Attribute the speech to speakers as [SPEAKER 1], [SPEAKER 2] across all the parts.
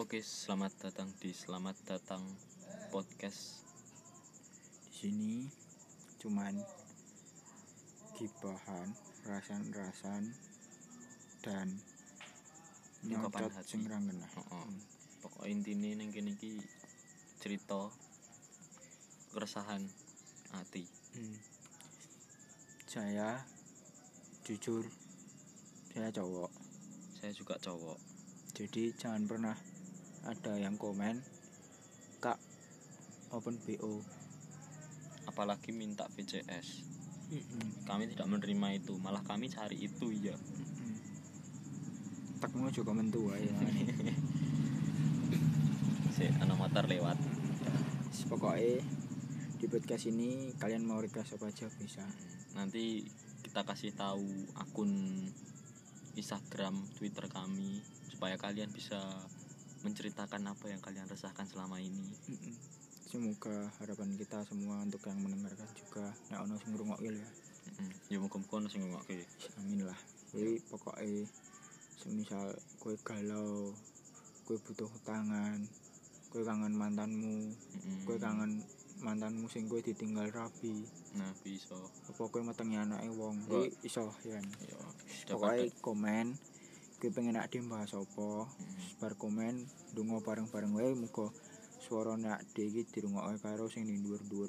[SPEAKER 1] Oke, selamat datang di Selamat Datang Podcast.
[SPEAKER 2] di sini cuman gibahan rasan-rasan dan
[SPEAKER 1] Ungkapan
[SPEAKER 2] nyodot
[SPEAKER 1] hati.
[SPEAKER 2] sing ra ngena.
[SPEAKER 1] Heeh. Pokok intine ning kene iki cerita keresahan hati.
[SPEAKER 2] Hmm. saya jujur saya cowok
[SPEAKER 1] Saya juga cowok.
[SPEAKER 2] jadi jangan pernah ada yang komen kak open bo
[SPEAKER 1] Apalagi minta VCS.
[SPEAKER 2] Mm-mm.
[SPEAKER 1] Kami tidak menerima itu, malah kami cari itu ya.
[SPEAKER 2] Mm-mm. tekmu juga mentua ya
[SPEAKER 1] Si anak motor lewat.
[SPEAKER 2] Terus pokoknya di podcast ini kalian mau request apa aja bisa
[SPEAKER 1] Nanti kita kasih tahu akun Instagram, Twitter kami supaya kalian bisa menceritakan apa yang kalian resahkan selama ini.
[SPEAKER 2] Mm-mm. semoga harapan kita semua untuk yang mendengarkan juga nek ono sing ngrungokke lho ya
[SPEAKER 1] Mm. Ya muga-muga ono sing ngungokke.
[SPEAKER 2] amin lah jadi pokoknya semisal kue galau kue butuh tangan kue kangen mantanmu
[SPEAKER 1] Mm-mm.
[SPEAKER 2] kue kangen mantanmu sing kue ditinggal rabi
[SPEAKER 1] Nah, bisa.
[SPEAKER 2] apa kue matengi anake wong
[SPEAKER 1] Wah.
[SPEAKER 2] kuwi iso ya
[SPEAKER 1] Ya,
[SPEAKER 2] pokoknya
[SPEAKER 1] dapat-
[SPEAKER 2] komen kue pengen nak dibahas apa
[SPEAKER 1] Mm.
[SPEAKER 2] bar komen donga bareng-bareng wae muga swara nak iki dirungokke karo sing ning dhuwur-dhuwur.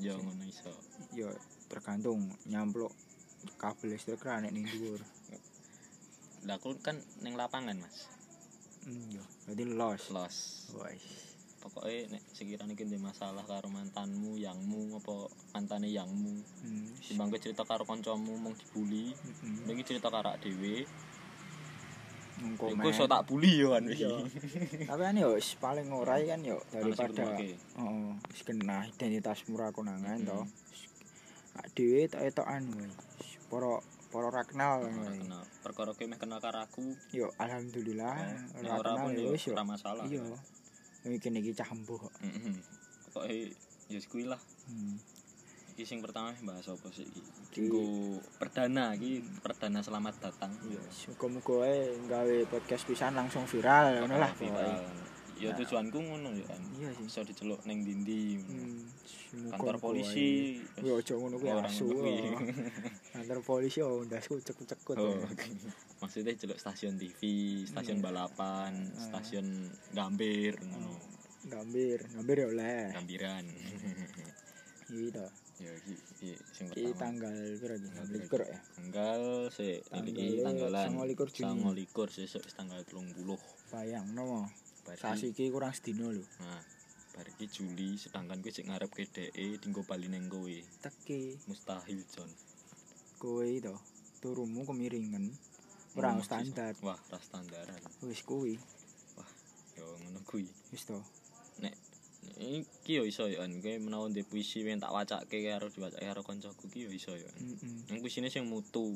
[SPEAKER 1] Ya ngono iso.
[SPEAKER 2] Ya tergantung nyamplok kabel listrik ra nek ning dhuwur.
[SPEAKER 1] Lah aku kan ning lapangan, Mas.
[SPEAKER 2] Hmm ya, berarti los.
[SPEAKER 1] Los.
[SPEAKER 2] Wais.
[SPEAKER 1] Pokoknya nek sekiranya iki ndek masalah karo mantanmu, yangmu apa mantane yangmu,
[SPEAKER 2] Hmm.
[SPEAKER 1] timbang ke cerita karo kancamu mung dibully,
[SPEAKER 2] Mm-mm.
[SPEAKER 1] Ini cerita karo awake dhewe.
[SPEAKER 2] Nung
[SPEAKER 1] Iku
[SPEAKER 2] komen.
[SPEAKER 1] iso tak bully yo kan wis.
[SPEAKER 2] Iya. Tapi kan yo wis paling ora kan yo daripada
[SPEAKER 1] Oke.
[SPEAKER 2] heeh wis kena identitas murah konangan
[SPEAKER 1] Mm-mm.
[SPEAKER 2] to. Ak dhewe tok etokan wae. Wis, Para para ra
[SPEAKER 1] Ora
[SPEAKER 2] kenal wae.
[SPEAKER 1] kenal. Perkara kowe meh kenal karo aku,
[SPEAKER 2] Yo alhamdulillah
[SPEAKER 1] nek
[SPEAKER 2] Ah, ora
[SPEAKER 1] ora
[SPEAKER 2] kenal
[SPEAKER 1] pun
[SPEAKER 2] yo
[SPEAKER 1] yo
[SPEAKER 2] wis yo.
[SPEAKER 1] ora masalah.
[SPEAKER 2] Iya. Iki niki cah embuh.
[SPEAKER 1] Heeh. Pokoke yo kuwi lah.
[SPEAKER 2] Hmm.
[SPEAKER 1] Iki sing pertama bahas apa sih iki?
[SPEAKER 2] Iki-
[SPEAKER 1] Minggu perdana iki perdana selamat datang.
[SPEAKER 2] Iya, muga-muga ae nggawe podcast pisan langsung viral ngono lah pokoknya.
[SPEAKER 1] Viral. Ya
[SPEAKER 2] Nah.
[SPEAKER 1] tujuanku ngono ya kan.
[SPEAKER 2] Iya sih.
[SPEAKER 1] Iso diceluk ning dindi.
[SPEAKER 2] Hmm, muga-muga
[SPEAKER 1] Kantor
[SPEAKER 2] ae.
[SPEAKER 1] polisi.
[SPEAKER 2] Kuwi aja ngono kuwi
[SPEAKER 1] Orang
[SPEAKER 2] asu.
[SPEAKER 1] ngono kuwi.
[SPEAKER 2] oh. Kantor polisi oh ndasku cekut-cekut.
[SPEAKER 1] Oh,
[SPEAKER 2] ya.
[SPEAKER 1] oke. Maksudnya celuk stasiun TV, stasiun
[SPEAKER 2] Hmm.
[SPEAKER 1] balapan,
[SPEAKER 2] Hmm.
[SPEAKER 1] stasiun gambir, ngono.
[SPEAKER 2] Gambir, gambir ya oleh.
[SPEAKER 1] Gambiran.
[SPEAKER 2] Iki to.
[SPEAKER 1] ya iki iki sing
[SPEAKER 2] Iki
[SPEAKER 1] pertama.
[SPEAKER 2] tanggal pira iki?
[SPEAKER 1] Tanggal
[SPEAKER 2] Likur ya.
[SPEAKER 1] Tanggal se iki
[SPEAKER 2] Tanggale
[SPEAKER 1] tanggalan
[SPEAKER 2] 29 Juni.
[SPEAKER 1] 29 sesuk wis tanggal 30.
[SPEAKER 2] Bayangno.
[SPEAKER 1] Bar iki-
[SPEAKER 2] Sasi iki kurang sedino lho.
[SPEAKER 1] Nah, bar iki Juli sedangkan kowe sik ngarepke dheke dinggo bali ning kowe.
[SPEAKER 2] Teki
[SPEAKER 1] Mustahil, Jon.
[SPEAKER 2] kowe iki to. Turumu kemiringen. Ora
[SPEAKER 1] Ngono sih,
[SPEAKER 2] standar.
[SPEAKER 1] Jon. Wah, ras standaran.
[SPEAKER 2] Wis kuwi.
[SPEAKER 1] Yo ngono kuwi.
[SPEAKER 2] Wis to.
[SPEAKER 1] Nek iki yo iso yo an kowe menawa ndek puisi yang tak wacake karo diwacake karo kancaku ki yo iso yo. an.
[SPEAKER 2] Heeh.
[SPEAKER 1] Nang puisine sing mutu.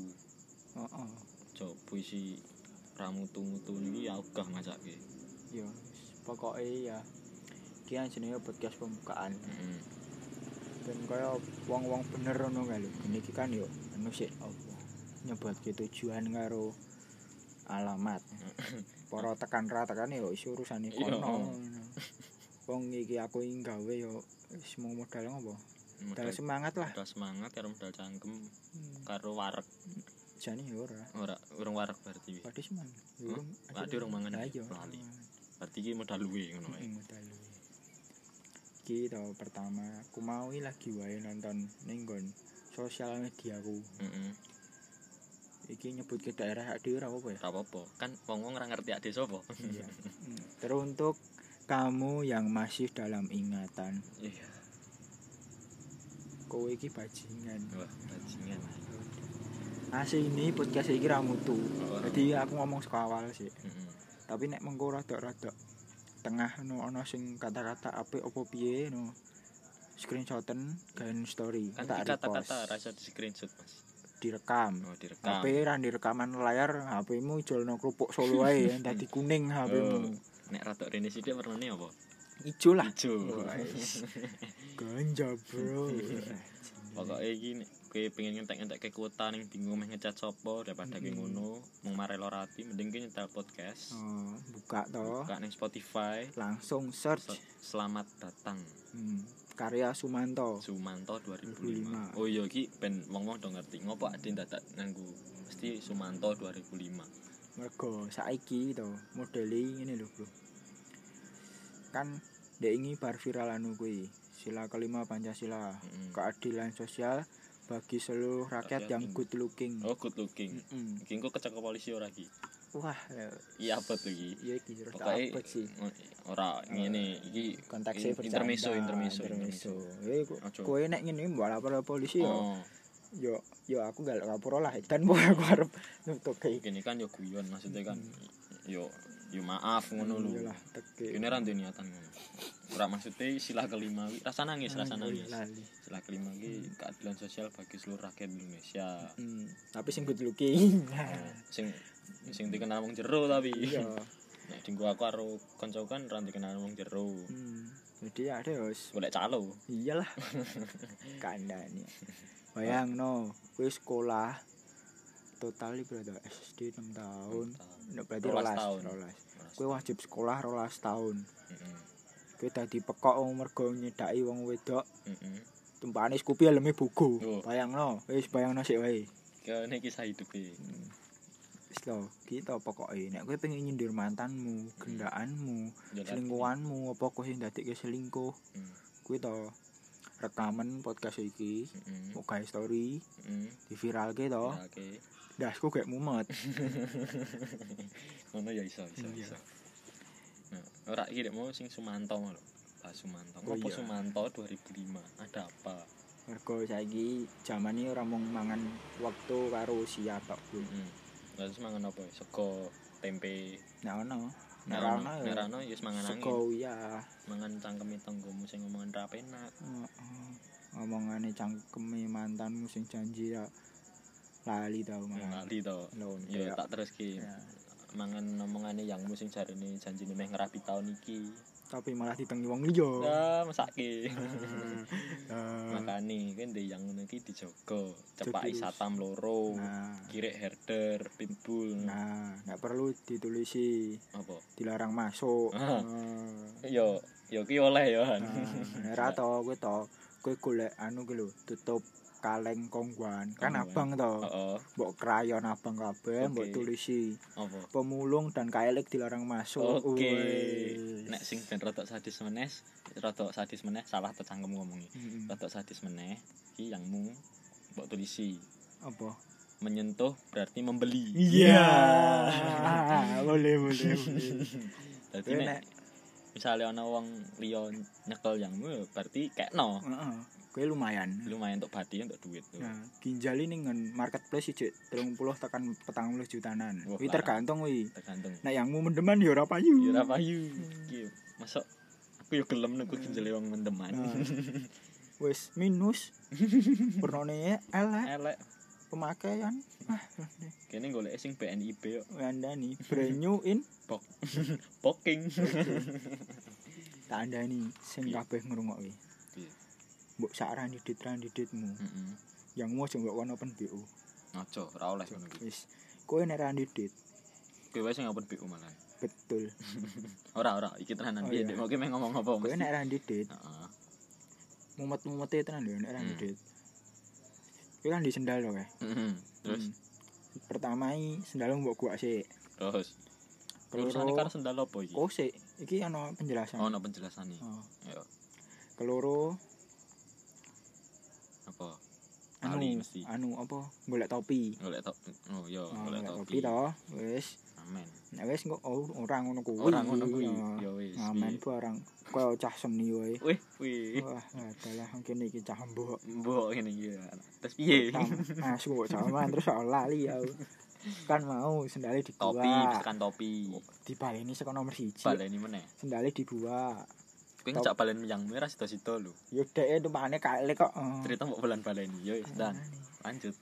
[SPEAKER 2] Heeh.
[SPEAKER 1] Jo puisi ramutu-mutu iki aku gak ngacake.
[SPEAKER 2] ya pokoknya ya iki kan jenenge podcast pembukaan
[SPEAKER 1] Heeh.
[SPEAKER 2] ben kaya wong-wong bener ngono kae lho ben iki kan yo anu sik apa nyebutke tujuan karo alamat para tekan ra tekan yo isi urusane
[SPEAKER 1] Iya.
[SPEAKER 2] kono wong iki aku iki gawe yo wis mung modal ngopo modal
[SPEAKER 1] Modal
[SPEAKER 2] semangat lah
[SPEAKER 1] modal semangat karo modal cangkem
[SPEAKER 2] Hmm,
[SPEAKER 1] karo wareg.
[SPEAKER 2] jane yo ora
[SPEAKER 1] Ora urung wareg berarti. wih.
[SPEAKER 2] Padahal semangat
[SPEAKER 1] Hah? Berarti urung mangan
[SPEAKER 2] Lah
[SPEAKER 1] iki,
[SPEAKER 2] iya,
[SPEAKER 1] lali.
[SPEAKER 2] urung mangan.
[SPEAKER 1] Berarti iki modal luwe ngono ae.
[SPEAKER 2] Mm, modal luwe. Iki tau pertama, aku mau iki lagi wae nonton ning nggon sosial mediaku.
[SPEAKER 1] Heeh.
[SPEAKER 2] Iki nyebutke daerah sak dhewe ora apa ya?
[SPEAKER 1] Gak apa-apa. Kan wong-wong ora ngerti ade sapa.
[SPEAKER 2] Iya. Mm. Teruntuk kamu yang masih dalam ingatan,
[SPEAKER 1] Iya.
[SPEAKER 2] kowe iki bajingan.
[SPEAKER 1] Wah, bajingan.
[SPEAKER 2] Asli ini podcast iki ra mutu.
[SPEAKER 1] Ora.
[SPEAKER 2] Jadi aku ngomong saka awal sih.
[SPEAKER 1] Heeh.
[SPEAKER 2] Tapi nek mengko rada-rada tengah no ana sing kata-kata apik opo piye no. Screenshoten gaen story.
[SPEAKER 1] Kan
[SPEAKER 2] tak
[SPEAKER 1] iki kata-kata
[SPEAKER 2] repost.
[SPEAKER 1] rasa di screenshot, Mas.
[SPEAKER 2] direkam.
[SPEAKER 1] Oh, direkam.
[SPEAKER 2] HP ra di rekaman layar, HP-mu jolno kerupuk solo ae yang dadi kuning HP-mu.
[SPEAKER 1] Nek ratok rene sithik warnane apa?
[SPEAKER 2] Ijo lah.
[SPEAKER 1] Oh, Ijo.
[SPEAKER 2] Wais. Ganja, Bro.
[SPEAKER 1] Pokoke iki nek kowe pengen ngentek-ngentek ke kuota ning bingung meh ngecat sapa daripada kowe
[SPEAKER 2] Mm-mm.
[SPEAKER 1] ngono mung marelo rati mending kowe nyetel podcast
[SPEAKER 2] Oh, buka toh
[SPEAKER 1] buka ning Spotify
[SPEAKER 2] langsung search
[SPEAKER 1] Se- Selamat datang
[SPEAKER 2] Hmm, karya Sumanto
[SPEAKER 1] Sumanto 2005.
[SPEAKER 2] 2005.
[SPEAKER 1] Oh iya iki ben wong-wong do ngerti ngopo ade dadak nganggo mesti Sumanto 2005.
[SPEAKER 2] mergo saiki to modeli ini lho bro kan dek ini bar viral anu kuwi sila kelima Pancasila
[SPEAKER 1] Mm-mm.
[SPEAKER 2] keadilan sosial bagi seluruh rakyat
[SPEAKER 1] Rakyat
[SPEAKER 2] yang
[SPEAKER 1] yang-
[SPEAKER 2] good looking
[SPEAKER 1] Oh good looking.
[SPEAKER 2] Mm-mm.
[SPEAKER 1] Iki engko kecek polisi ora iki.
[SPEAKER 2] wah ya
[SPEAKER 1] Iya apa tuh iki?
[SPEAKER 2] ya iki terus tak
[SPEAKER 1] Pokoknya
[SPEAKER 2] upload sih
[SPEAKER 1] Oh,
[SPEAKER 2] Eh,
[SPEAKER 1] ora ngene iki
[SPEAKER 2] konteksnya
[SPEAKER 1] in- intermezzo, intermezzo, intermezzo.
[SPEAKER 2] ya iku
[SPEAKER 1] Ojo.
[SPEAKER 2] kowe nek ngene mbok lapor polisi yo
[SPEAKER 1] Oh,
[SPEAKER 2] yo yo aku gak lapor lah dan mbok aku arep nutup kayak
[SPEAKER 1] gini kan yo guyon maksudnya kan yo yo maaf ngono lho.
[SPEAKER 2] Yolah, teke.
[SPEAKER 1] Ini ra duwe niatan ngono. Ora maksudnya silah kelima wi- rasa nangis, rasa nangis.
[SPEAKER 2] Lali.
[SPEAKER 1] Silah kelima iki keadilan sosial bagi seluruh rakyat Indonesia.
[SPEAKER 2] Hmm, tapi sing good looking
[SPEAKER 1] sing sing dikenal wong jero tapi
[SPEAKER 2] iya
[SPEAKER 1] nek dinggo aku karo kanca kan ra dikenal wong jero
[SPEAKER 2] Hmm, jadi ada ya wis.
[SPEAKER 1] golek calo
[SPEAKER 2] iyalah kandani bayang no kowe sekolah total iki berapa SD 6 tahun Nah, berarti
[SPEAKER 1] Rolas
[SPEAKER 2] rolas
[SPEAKER 1] tahun.
[SPEAKER 2] rolas
[SPEAKER 1] Rolas.
[SPEAKER 2] kowe wajib sekolah rolas tahun
[SPEAKER 1] Heeh.
[SPEAKER 2] kowe dadi pekok wong mergo nyedaki wong wedok
[SPEAKER 1] Heeh.
[SPEAKER 2] tumpane Scoopy helme buku
[SPEAKER 1] Oh.
[SPEAKER 2] bayangno wis bayangno sik wae
[SPEAKER 1] kene kisah hidupe
[SPEAKER 2] wis lo kita pokoke nek kowe pengen nyindir mantanmu
[SPEAKER 1] Hmm.
[SPEAKER 2] gendaanmu
[SPEAKER 1] Yo, tapi-
[SPEAKER 2] selingkuhanmu apa kowe sing dadekke selingkuh
[SPEAKER 1] Hmm.
[SPEAKER 2] kuwi to rekaman podcast iki
[SPEAKER 1] Heeh.
[SPEAKER 2] mau gawe story
[SPEAKER 1] Heeh.
[SPEAKER 2] diviralke to
[SPEAKER 1] Ya, oke
[SPEAKER 2] dasku gak mumet
[SPEAKER 1] ngono ya iso iso
[SPEAKER 2] Iya.
[SPEAKER 1] iso nah ora iki dek mau sing Sumanto lho Pak Sumanto
[SPEAKER 2] Oh,
[SPEAKER 1] ngopo
[SPEAKER 2] iya.
[SPEAKER 1] Sumanto 2005 ada apa
[SPEAKER 2] mergo saiki jaman iki ora mung mangan waktu karo usia tok kuwi
[SPEAKER 1] heeh terus mangan apa ya? sego tempe
[SPEAKER 2] nek ono nek
[SPEAKER 1] Nek
[SPEAKER 2] ora
[SPEAKER 1] ono-
[SPEAKER 2] ono
[SPEAKER 1] nek
[SPEAKER 2] ya
[SPEAKER 1] ra ono ya wis mangan angin
[SPEAKER 2] sego ya
[SPEAKER 1] mangan cangkeme tanggomu sing ngomongan ra penak
[SPEAKER 2] Heeh. omongane cangkeme mantanmu sing janji ya lali tau malah
[SPEAKER 1] lali to
[SPEAKER 2] Lho,
[SPEAKER 1] yo
[SPEAKER 2] kayak-
[SPEAKER 1] Ya. tak teruski
[SPEAKER 2] Ya,
[SPEAKER 1] mangan omongane yang musim cari ini janji meh ngerapi tahun iki
[SPEAKER 2] tapi malah ditengi wong liya
[SPEAKER 1] ah masake
[SPEAKER 2] Nah,
[SPEAKER 1] makane kan de yang ngono iki dijogo cepak
[SPEAKER 2] Jogo.
[SPEAKER 1] isatam loro
[SPEAKER 2] nah
[SPEAKER 1] kirek herder pitbull
[SPEAKER 2] nah nggak perlu ditulisi
[SPEAKER 1] apa
[SPEAKER 2] dilarang masuk
[SPEAKER 1] Ah. Kan.
[SPEAKER 2] Heeh.
[SPEAKER 1] yo yo ki oleh yo han
[SPEAKER 2] Nah, ora to kowe to kowe golek anu ki lho tutup kaleng kongguan kan
[SPEAKER 1] Kongguan.
[SPEAKER 2] abang to
[SPEAKER 1] heeh
[SPEAKER 2] mbok krayon abang kabeh mbok
[SPEAKER 1] Oke.
[SPEAKER 2] tulisi
[SPEAKER 1] apa
[SPEAKER 2] pemulung dan kaelik dilarang masuk
[SPEAKER 1] oke
[SPEAKER 2] Wes.
[SPEAKER 1] nek sing ben rodok sadis meneh rodok sadis meneh salah to cangkem ngomongi
[SPEAKER 2] Mm-mm.
[SPEAKER 1] rodok sadis meneh iki yang mu mbok tulisi
[SPEAKER 2] apa
[SPEAKER 1] menyentuh berarti membeli
[SPEAKER 2] iya boleh boleh boleh
[SPEAKER 1] Dadi
[SPEAKER 2] Kowe
[SPEAKER 1] nek
[SPEAKER 2] nek
[SPEAKER 1] misale ana wong liya nyekel yangmu ya berarti kekno.
[SPEAKER 2] heeh kowe lumayan
[SPEAKER 1] Lumayan untuk bati untuk duit tuh.
[SPEAKER 2] Nah, ginjal ini ngen marketplace sih, 30 tekan petang puluh jutaan.
[SPEAKER 1] Wah,
[SPEAKER 2] Wih
[SPEAKER 1] parah.
[SPEAKER 2] tergantung wih.
[SPEAKER 1] Tergantung.
[SPEAKER 2] Nek yang mu mendeman ya ora payu.
[SPEAKER 1] Ya ora payu. Iki masuk aku yo gelem nek
[SPEAKER 2] Hmm.
[SPEAKER 1] ginjel wong mendeman.
[SPEAKER 2] Nah. Wis minus. Pernone elek
[SPEAKER 1] Elek.
[SPEAKER 2] pemakaian. Ah,
[SPEAKER 1] Eh, Kene golek sing BNIB yo
[SPEAKER 2] ngandani brand new in
[SPEAKER 1] poking.
[SPEAKER 2] tak andani sing
[SPEAKER 1] Iya.
[SPEAKER 2] kabeh ngrungokke.
[SPEAKER 1] Iya.
[SPEAKER 2] Mbok sak randidit randiditmu.
[SPEAKER 1] Heeh.
[SPEAKER 2] Yang mau aja mbok kono pen BU.
[SPEAKER 1] Ojo ora oleh ngono iki.
[SPEAKER 2] Wis. Kowe nek randidit
[SPEAKER 1] Kowe wae sing ngapain BU malah.
[SPEAKER 2] betul.
[SPEAKER 1] Ora ora iki tenanan
[SPEAKER 2] Oh,
[SPEAKER 1] piye
[SPEAKER 2] iya.
[SPEAKER 1] Dek? Mau ki meh ngomong apa
[SPEAKER 2] Kowe
[SPEAKER 1] mesti.
[SPEAKER 2] nek randidit
[SPEAKER 1] Heeh.
[SPEAKER 2] mumet-mumete tenan lho
[SPEAKER 1] Hmm.
[SPEAKER 2] nek randidit. Kowe kan di sendal to kae.
[SPEAKER 1] Heeh. Terus
[SPEAKER 2] Hmm. pertama i sendal mbok gua sik.
[SPEAKER 1] terus.
[SPEAKER 2] Keloro.
[SPEAKER 1] Terusane karo sendal apa iki?
[SPEAKER 2] Oh sik, iki ana penjelasan.
[SPEAKER 1] Ono penjelasane.
[SPEAKER 2] Oh.
[SPEAKER 1] Yo
[SPEAKER 2] Keloro
[SPEAKER 1] apa?
[SPEAKER 2] anu
[SPEAKER 1] Ali mesti.
[SPEAKER 2] anu apa golek topi
[SPEAKER 1] golek top oh yo
[SPEAKER 2] Nah,
[SPEAKER 1] golek
[SPEAKER 2] golek
[SPEAKER 1] topi
[SPEAKER 2] topi to wis
[SPEAKER 1] amen
[SPEAKER 2] nek wis engko oh, ora ngono kuwi Oh,
[SPEAKER 1] ora ngono kuwi
[SPEAKER 2] Nah,
[SPEAKER 1] yo wis
[SPEAKER 2] ngamen barang koyo cah seni wae
[SPEAKER 1] wih wih
[SPEAKER 2] wah adalah mungkin iki cah mbok
[SPEAKER 1] mbok ngene iki ya. terus piye
[SPEAKER 2] asu kok sama terus soal lali ya kan mau sendale
[SPEAKER 1] topi
[SPEAKER 2] dibuat
[SPEAKER 1] tekan topi
[SPEAKER 2] dibaleni saka nomor siji
[SPEAKER 1] baleni meneh
[SPEAKER 2] sendale dibuat
[SPEAKER 1] kowe
[SPEAKER 2] Top.
[SPEAKER 1] ngejak balen yang merah sida-sida lho
[SPEAKER 2] yo dhek tumpane kaele kok Oh.
[SPEAKER 1] cerita mbok balan baleni yo wis dan
[SPEAKER 2] Ah.
[SPEAKER 1] lanjut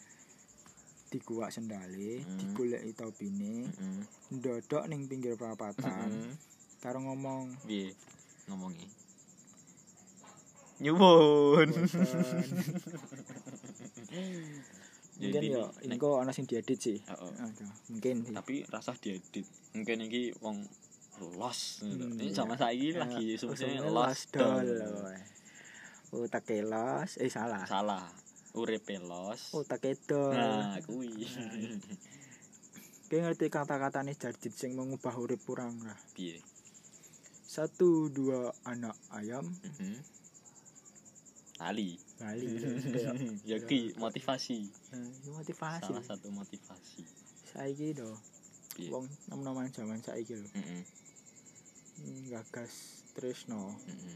[SPEAKER 2] diguak sendale
[SPEAKER 1] Hmm.
[SPEAKER 2] digoleki topine
[SPEAKER 1] heeh
[SPEAKER 2] ndodok ning pinggir perapatan
[SPEAKER 1] Heeh.
[SPEAKER 2] karo ngomong
[SPEAKER 1] piye ngomongi nyuwun
[SPEAKER 2] Boten.
[SPEAKER 1] Ya,
[SPEAKER 2] Eh, mungkin
[SPEAKER 1] ini-
[SPEAKER 2] yo Iya.
[SPEAKER 1] nek-
[SPEAKER 2] engko ana sing diedit sih
[SPEAKER 1] Heeh.
[SPEAKER 2] Ada, mungkin sih
[SPEAKER 1] tapi rasah diedit mungkin ini wong los gitu.
[SPEAKER 2] Hmm,
[SPEAKER 1] ini
[SPEAKER 2] iya.
[SPEAKER 1] sama saya
[SPEAKER 2] Eh,
[SPEAKER 1] lagi sebenarnya
[SPEAKER 2] usulnya
[SPEAKER 1] los dol
[SPEAKER 2] utake los eh salah
[SPEAKER 1] Nah, salah uripe los
[SPEAKER 2] utake dol
[SPEAKER 1] nah kui
[SPEAKER 2] Ki ngerti kata-katane jadid sing mengubah urip kurang lah
[SPEAKER 1] piye
[SPEAKER 2] satu dua anak ayam
[SPEAKER 1] Mhm. tali
[SPEAKER 2] bali Kayak,
[SPEAKER 1] ya ki motivasi
[SPEAKER 2] eh, itu motivasi
[SPEAKER 1] salah satu motivasi
[SPEAKER 2] saiki do
[SPEAKER 1] Piye?
[SPEAKER 2] wong nom-noman jaman saiki lho
[SPEAKER 1] Mhm,
[SPEAKER 2] nggagas tresno
[SPEAKER 1] mhm.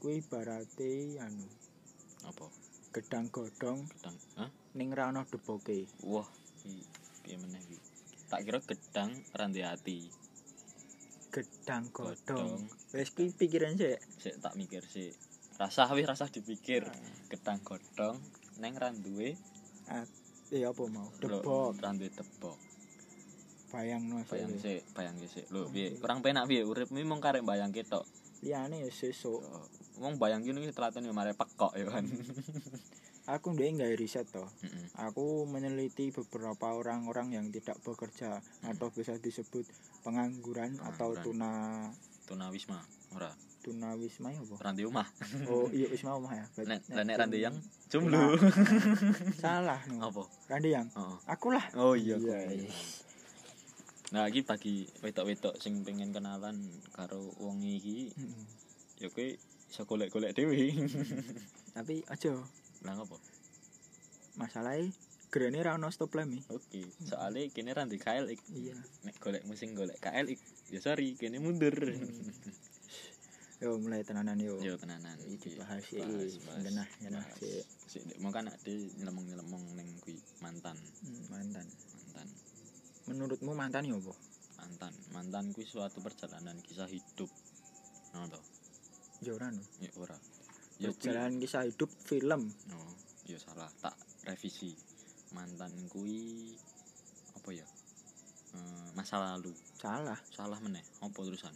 [SPEAKER 2] kuwi ibarate anu
[SPEAKER 1] apa
[SPEAKER 2] gedang godhong
[SPEAKER 1] gedang Hah?
[SPEAKER 2] ning ra ana deboke
[SPEAKER 1] wah ki- piye meneh ki tak kira gedang randhe ati
[SPEAKER 2] gedang
[SPEAKER 1] godhong
[SPEAKER 2] godhong wis ki pikiran sik
[SPEAKER 1] sik tak mikir sik rasah wis rasah dipikir gedang godhong neng randuwe
[SPEAKER 2] eh apa mau debok
[SPEAKER 1] randuwe debok
[SPEAKER 2] bayangno sik
[SPEAKER 1] bayang sik bayang sik lho
[SPEAKER 2] Hmm.
[SPEAKER 1] piye kurang penak piye urip mi mung karek bayang ketok
[SPEAKER 2] liyane
[SPEAKER 1] Oh.
[SPEAKER 2] ya sesuk
[SPEAKER 1] wong bayang ki wis telaten yo mare pekok yo kan
[SPEAKER 2] aku ndek gawe riset to
[SPEAKER 1] Heeh.
[SPEAKER 2] aku meneliti beberapa orang-orang yang tidak bekerja atau bisa disebut pengangguran atau
[SPEAKER 1] Pengangguran.
[SPEAKER 2] tuna
[SPEAKER 1] tunawisma ora
[SPEAKER 2] tunawisma ya apa
[SPEAKER 1] randhe omah
[SPEAKER 2] oh iya wisma omah ya Berarti
[SPEAKER 1] nek
[SPEAKER 2] nek
[SPEAKER 1] nek
[SPEAKER 2] tun-
[SPEAKER 1] randhe yang jomblo
[SPEAKER 2] salah no.
[SPEAKER 1] apa
[SPEAKER 2] rande yang
[SPEAKER 1] heeh
[SPEAKER 2] aku lah
[SPEAKER 1] Oh iya.
[SPEAKER 2] Iya,
[SPEAKER 1] aku
[SPEAKER 2] iya.
[SPEAKER 1] ngerti. Nah, iki bagi wedok-wedok sing pengen kenalan karo wong iki,
[SPEAKER 2] Mm-mm.
[SPEAKER 1] ya kowe iso golek-golek dhewe.
[SPEAKER 2] tapi aja
[SPEAKER 1] Lah ngopo?
[SPEAKER 2] masalahnya gerene ra ono stop e. lamp
[SPEAKER 1] Oke, soalnya kene ra ndek KL ik.
[SPEAKER 2] iya
[SPEAKER 1] Nek golek musim golek KL ik. Ya sorry, kene mundur.
[SPEAKER 2] Hmm. yo mulai tenanan yo
[SPEAKER 1] Yo tenanan
[SPEAKER 2] iki
[SPEAKER 1] iki.
[SPEAKER 2] bahas iki
[SPEAKER 1] bahas, bahas,
[SPEAKER 2] genah genah
[SPEAKER 1] bahas.
[SPEAKER 2] sik
[SPEAKER 1] Sik ndek mau kan ade nyelemong-nyelemong ning kuwi mantan,
[SPEAKER 2] Hmm, mantan
[SPEAKER 1] mantan,
[SPEAKER 2] menurutmu mantan yo apa
[SPEAKER 1] mantan. Mantan kuwi suatu perjalanan kisah hidup. Ngono to?
[SPEAKER 2] yo ora no
[SPEAKER 1] Ya ora. Ya kuwi-
[SPEAKER 2] perjalanan kisah hidup film
[SPEAKER 1] Oh, ya salah. Tak revisi. Mantan kui apa ya? Eh, masa lalu.
[SPEAKER 2] salah
[SPEAKER 1] Salah meneh. Apa terusan?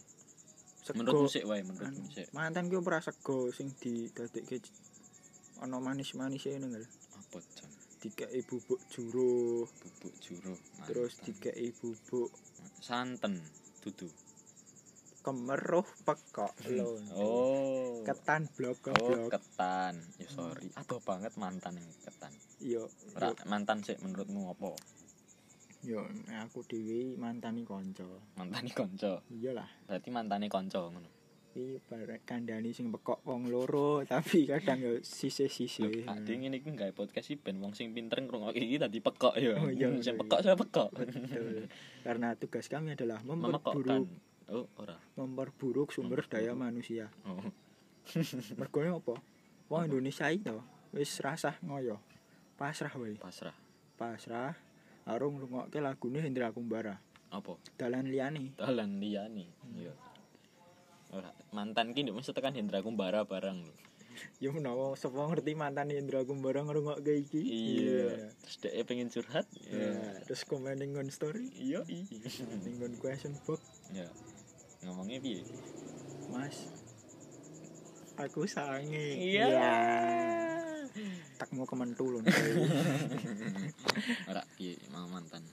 [SPEAKER 2] Sego-
[SPEAKER 1] Menurutmu sik wae, menurutmu
[SPEAKER 2] anu,
[SPEAKER 1] sik.
[SPEAKER 2] mantan ki ora sego sing didadekke j- ana manis-manise ngono lho
[SPEAKER 1] Apa jan?
[SPEAKER 2] dikeki bubuk juru
[SPEAKER 1] Bubuk juro. mantan.
[SPEAKER 2] terus dikeki bubuk
[SPEAKER 1] santen dudu.
[SPEAKER 2] kemeruh pekok lho
[SPEAKER 1] Hmm. Oh.
[SPEAKER 2] ketan blok-blok
[SPEAKER 1] Oh, ketan. Ya sorry. Aduh banget mantan yang ketan.
[SPEAKER 2] yo
[SPEAKER 1] Ora, mantan sik menurutmu apa?
[SPEAKER 2] yo nek aku dhewe mantani kanca
[SPEAKER 1] Mantani konco.
[SPEAKER 2] iyalah
[SPEAKER 1] Berarti mantane konco ngono.
[SPEAKER 2] iki barek kandhani sing pekok wong loro tapi kadang yo
[SPEAKER 1] Loh,
[SPEAKER 2] sisih-sisih
[SPEAKER 1] Ade ngene iki nggawe podcast iki ben wong sing pinter ngrungokke iki dadi pekok ya.
[SPEAKER 2] Oh, iya,
[SPEAKER 1] sing
[SPEAKER 2] iya, Oh,
[SPEAKER 1] pekok saya pekok.
[SPEAKER 2] Betul. karena tugas kami adalah
[SPEAKER 1] Memekokkan.
[SPEAKER 2] memperburuk
[SPEAKER 1] Oh, ora.
[SPEAKER 2] memperburuk sumber daya manusia
[SPEAKER 1] Oh.
[SPEAKER 2] mergone apa wong Indonesia itu wis rasah ngoyo pasrah wae
[SPEAKER 1] Pasrah.
[SPEAKER 2] pasrah karo ngrungokke lagune Hendra Kumbara
[SPEAKER 1] Apa?
[SPEAKER 2] dalan liyane
[SPEAKER 1] Dalan liyane. Iya. Ora, mantan ki ndek mesti tekan Hendra Kumbara barang lho.
[SPEAKER 2] ya menawa sapa ngerti mantan Hendra Kumbara ngrungokke iki
[SPEAKER 1] Iya. Terus dhek pengen curhat.
[SPEAKER 2] Iya. terus komen ning nggon story
[SPEAKER 1] Iya. i.
[SPEAKER 2] ning nggon question box
[SPEAKER 1] Ya. Ngomongnya piye?
[SPEAKER 2] Mas aku sange
[SPEAKER 1] Iya.
[SPEAKER 2] tak mau kementul lho
[SPEAKER 1] Ora piye mau mantan.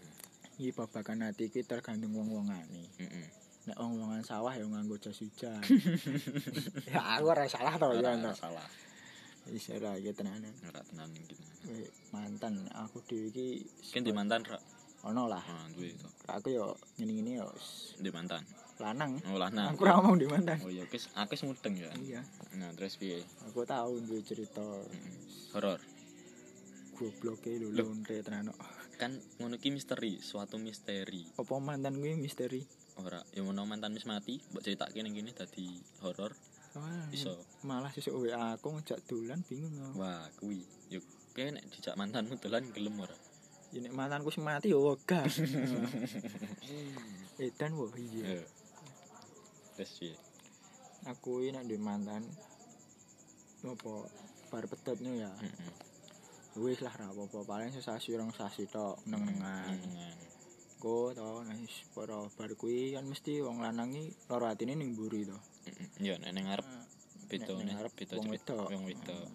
[SPEAKER 2] iki babakan ati iki tergantung wong-wongane
[SPEAKER 1] Heeh.
[SPEAKER 2] nek wong-wongan sawah ya nganggo jas hujan ya aku ora salah to ya
[SPEAKER 1] Ora
[SPEAKER 2] to
[SPEAKER 1] salah.
[SPEAKER 2] wis ora ya tenanan
[SPEAKER 1] Ora tenan iki.
[SPEAKER 2] Weh, mantan aku dhewe iki
[SPEAKER 1] Kan di mantan ra.
[SPEAKER 2] ono lah
[SPEAKER 1] Ah, duwe itu.
[SPEAKER 2] aku yo ngene-ngene yo s-
[SPEAKER 1] Di mantan.
[SPEAKER 2] lanang
[SPEAKER 1] Oh, lah nah.
[SPEAKER 2] aku ora ngomong di mantan
[SPEAKER 1] Oh iya, kes aku wis mudeng ya.
[SPEAKER 2] iya
[SPEAKER 1] Nah, terus piye?
[SPEAKER 2] aku tahu duwe cerita
[SPEAKER 1] Horor.
[SPEAKER 2] gobloke lho
[SPEAKER 1] Loh.
[SPEAKER 2] lonte tenan
[SPEAKER 1] Kan ngono ki misteri, suatu misteri.
[SPEAKER 2] apa mantan kuwi misteri
[SPEAKER 1] Ora, ya menawa mantan wis mati, mbok critakake ning kene dadi horor
[SPEAKER 2] Wah,
[SPEAKER 1] iso.
[SPEAKER 2] malah sesuk WA aku ngejak dolan bingung aku.
[SPEAKER 1] Wah, kuwi. Yo kene nek dijak mantanmu dolan gelem ora?
[SPEAKER 2] Ya nek mantanku sing mati yo wegah. Edan wo iya.
[SPEAKER 1] Iya. Terus piye?
[SPEAKER 2] Aku iki nek duwe mantan opo bar pedotno ya.
[SPEAKER 1] Heeh. Hmm.
[SPEAKER 2] Wis lah ra apa-apa, paling sesasi rong sasi tok neng-nengan.
[SPEAKER 1] Nenengan.
[SPEAKER 2] Engko to nek wis para bar kuwi kan mesti wong lanang iki loro atine ning mburi to.
[SPEAKER 1] Mm-mm. Yo nek ning ngarep beda
[SPEAKER 2] Mm. ning
[SPEAKER 1] nih,
[SPEAKER 2] ngarep
[SPEAKER 1] beda
[SPEAKER 2] wong
[SPEAKER 1] cepet
[SPEAKER 2] wedok. Mm.
[SPEAKER 1] wong wedok.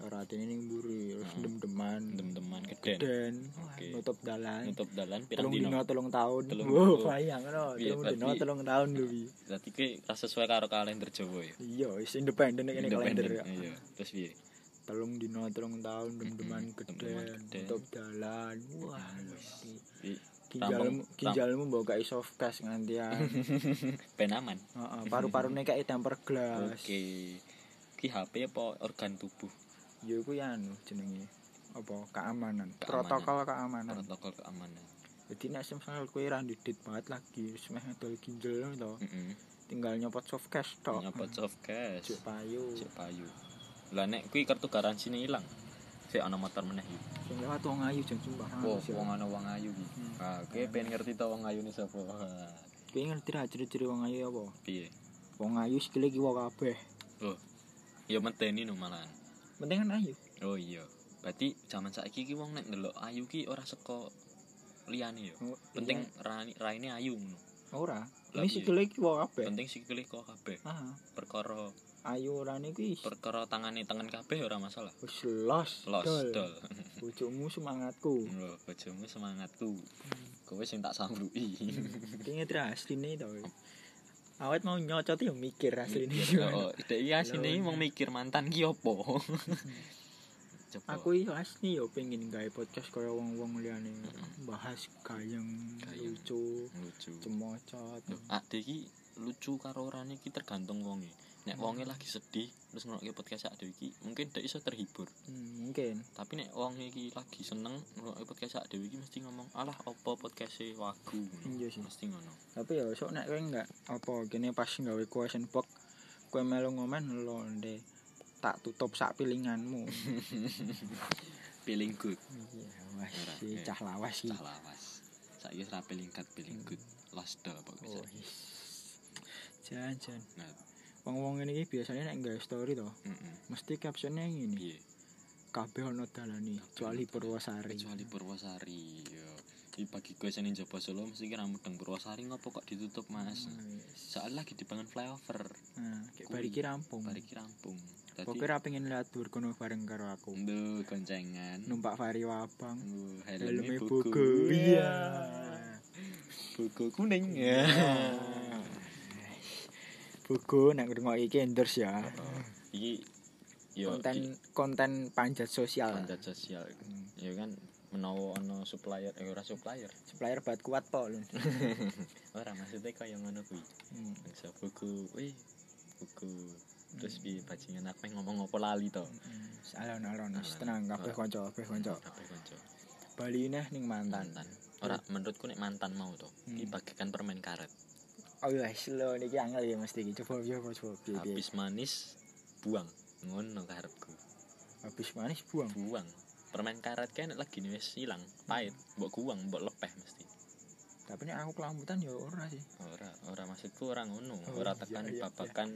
[SPEAKER 2] ora atine ning mburi terus
[SPEAKER 1] Hmm.
[SPEAKER 2] dem-deman
[SPEAKER 1] teman-teman keden
[SPEAKER 2] den
[SPEAKER 1] Oke.
[SPEAKER 2] nutup dalan
[SPEAKER 1] nutup dalan pirang
[SPEAKER 2] telung
[SPEAKER 1] dino
[SPEAKER 2] dino telung taun
[SPEAKER 1] Telung
[SPEAKER 2] wow
[SPEAKER 1] dino.
[SPEAKER 2] bayang no
[SPEAKER 1] Iya,
[SPEAKER 2] telung dino
[SPEAKER 1] berarti-
[SPEAKER 2] telung taun kuwi
[SPEAKER 1] berarti ki ra sesuai karo kalender Jawa ya
[SPEAKER 2] iya wis independen nek kene kalender
[SPEAKER 1] Independen,
[SPEAKER 2] ya.
[SPEAKER 1] iya terus piye
[SPEAKER 2] telung dino telung taun dem-deman
[SPEAKER 1] Mm-mm, dem-deman
[SPEAKER 2] geden
[SPEAKER 1] geden.
[SPEAKER 2] nutup dalan wah mesti.
[SPEAKER 1] Pi- Tampung-
[SPEAKER 2] ginjalmu ginjalmu mbok gawe soft gas ngantian
[SPEAKER 1] ben aman
[SPEAKER 2] Heeh, paru-parune kayak temper
[SPEAKER 1] oke
[SPEAKER 2] glass
[SPEAKER 1] ki HP apa organ tubuh
[SPEAKER 2] ya iku ya anu jenenge apa
[SPEAKER 1] Keamanan.
[SPEAKER 2] keamanan, protokol keamanan
[SPEAKER 1] protokol keamanan
[SPEAKER 2] jadi nek semisal kowe ra didit banget lagi wis meh dol ginjel lho to
[SPEAKER 1] heeh
[SPEAKER 2] tinggal nyopot soft cash tok
[SPEAKER 1] nyapa soft cash
[SPEAKER 2] Juk payu
[SPEAKER 1] cek payu lah nek kuwi kartu garansi ini ilang sik ana motor meneh iki
[SPEAKER 2] sing lewat wong ayu jan sumpah
[SPEAKER 1] oh
[SPEAKER 2] Wis, ya.
[SPEAKER 1] wong ana wong ayu iki
[SPEAKER 2] Ah,
[SPEAKER 1] ah
[SPEAKER 2] Hmm.
[SPEAKER 1] kowe pengen ngerti ta wong ayu ini sapa Ah,
[SPEAKER 2] kowe ngerti ra ciri-ciri wong ayu apa
[SPEAKER 1] piye
[SPEAKER 2] wong ayu sikile kiwa kabeh
[SPEAKER 1] oh ya menteni no malahan
[SPEAKER 2] penting kan ayu
[SPEAKER 1] oh iya berarti zaman saiki ki wong nek ndelok ayu ki ora seko liyane yo
[SPEAKER 2] Oh,
[SPEAKER 1] penting rani raine ayu ngono
[SPEAKER 2] iya. ora
[SPEAKER 1] Lah,
[SPEAKER 2] ini
[SPEAKER 1] iya.
[SPEAKER 2] sikile kiwa kabeh
[SPEAKER 1] penting sikile kok kabeh
[SPEAKER 2] ah
[SPEAKER 1] perkara
[SPEAKER 2] ayu orane kuwi
[SPEAKER 1] perkara tangane tangan kabeh ora masalah
[SPEAKER 2] wis los
[SPEAKER 1] los
[SPEAKER 2] dol
[SPEAKER 1] dol
[SPEAKER 2] bojomu semangatku
[SPEAKER 1] lho bojomu semangatku
[SPEAKER 2] Hmm.
[SPEAKER 1] kowe sing tak samruki
[SPEAKER 2] Kayaknya terus asline to. Awet mau nyocot ya mikir asline.
[SPEAKER 1] Oh, dek iki asine
[SPEAKER 2] Lawan.
[SPEAKER 1] wong mikir mantan ki opo. Coba.
[SPEAKER 2] Aku yo asli yo pengen gawe podcast kaya wong-wong liyane
[SPEAKER 1] Mm-mm.
[SPEAKER 2] bahas gayeng
[SPEAKER 1] Gayeng. Hmm.
[SPEAKER 2] lucu,
[SPEAKER 1] lucu.
[SPEAKER 2] cemocot.
[SPEAKER 1] Loh, Ade iki lucu karo orane iki tergantung wonge. Nek
[SPEAKER 2] Hmm.
[SPEAKER 1] wonge lagi sedih terus ngrungokke podcast Ade iki, mungkin dek iso terhibur.
[SPEAKER 2] Hmm, mungkin.
[SPEAKER 1] Tapi nek wonge iki lagi seneng ngrungokke podcast Ade iki mesti ngomong, "Alah, opo podcast-e wagu."
[SPEAKER 2] Iya sih.
[SPEAKER 1] Mesti ngono.
[SPEAKER 2] Tapi yo sok nek kowe enggak apa gini pas gawe question box kowe melu ngomen londe tak tutup sak pilinganmu.
[SPEAKER 1] Feeling good,
[SPEAKER 2] Iya, wes
[SPEAKER 1] Ora,
[SPEAKER 2] sih,
[SPEAKER 1] eh.
[SPEAKER 2] cah lawas sih.
[SPEAKER 1] cah lawas. Saiki wis ra feeling good, feeling good. Lost dol
[SPEAKER 2] Hmm. Oh,
[SPEAKER 1] pokoknya.
[SPEAKER 2] is. Jan jan.
[SPEAKER 1] Nah,
[SPEAKER 2] Wong-wong ngene iki biasanya nek gawe story to,
[SPEAKER 1] heeh.
[SPEAKER 2] mesti captionnya ngene.
[SPEAKER 1] Piye?
[SPEAKER 2] kabeh ana dalane kecuali Purwosari.
[SPEAKER 1] kecuali Purwosari yo iki bagi gue sing ning Jaba Solo mesti kira mudeng Purwosari ngopo kok ditutup mas
[SPEAKER 2] Hmm.
[SPEAKER 1] soalnya lagi dibangun flyover
[SPEAKER 2] Nah, kayak
[SPEAKER 1] Kui.
[SPEAKER 2] bariki rampung.
[SPEAKER 1] bariki rampung
[SPEAKER 2] Pokoke ra pengen lihat dur kono bareng karo aku.
[SPEAKER 1] ndu goncengan
[SPEAKER 2] Numpak Fari Wabang.
[SPEAKER 1] Nduh, helme
[SPEAKER 2] Helme
[SPEAKER 1] buku
[SPEAKER 2] bogo. Iya. ya.
[SPEAKER 1] buku kuning
[SPEAKER 2] Bogo nek ngrungok iki endorse ya.
[SPEAKER 1] Oh, iki yo
[SPEAKER 2] Konten konten panjat sosial.
[SPEAKER 1] konten sosial
[SPEAKER 2] Hmm.
[SPEAKER 1] yo kan menawa ana supplier eh ora supplier
[SPEAKER 2] Supplier buat kuat po lho.
[SPEAKER 1] ora maksudnya kaya ngono kuwi
[SPEAKER 2] Hmm.
[SPEAKER 1] bangsa buku wih buku terus
[SPEAKER 2] Hmm.
[SPEAKER 1] piye bajingan aku ngomong apa lali to
[SPEAKER 2] Alon-alon Hmm, wis
[SPEAKER 1] Alon-alon.
[SPEAKER 2] tenang kabeh
[SPEAKER 1] Ora.
[SPEAKER 2] kanca, kabeh kanca.
[SPEAKER 1] Kabeh kanca.
[SPEAKER 2] Bali neh ning mantan.
[SPEAKER 1] mantan ora menurutku nek mantan mau to
[SPEAKER 2] Hmm.
[SPEAKER 1] iki bagikan permen karet
[SPEAKER 2] Oh iya, wis lho niki angel ya mesti iki. Coba coba coba. Piye, piye.
[SPEAKER 1] habis manis buang ngono karepku
[SPEAKER 2] Habis manis buang.
[SPEAKER 1] buang permen karet kan lagi nih wis ilang pahit
[SPEAKER 2] Hmm.
[SPEAKER 1] mbok buang mbok lepeh mesti
[SPEAKER 2] tapi nek aku kelambutan ya ora sih
[SPEAKER 1] ora ora maksudku ora ngono
[SPEAKER 2] Oh,
[SPEAKER 1] ora
[SPEAKER 2] iya,
[SPEAKER 1] tekan
[SPEAKER 2] iya,
[SPEAKER 1] babakan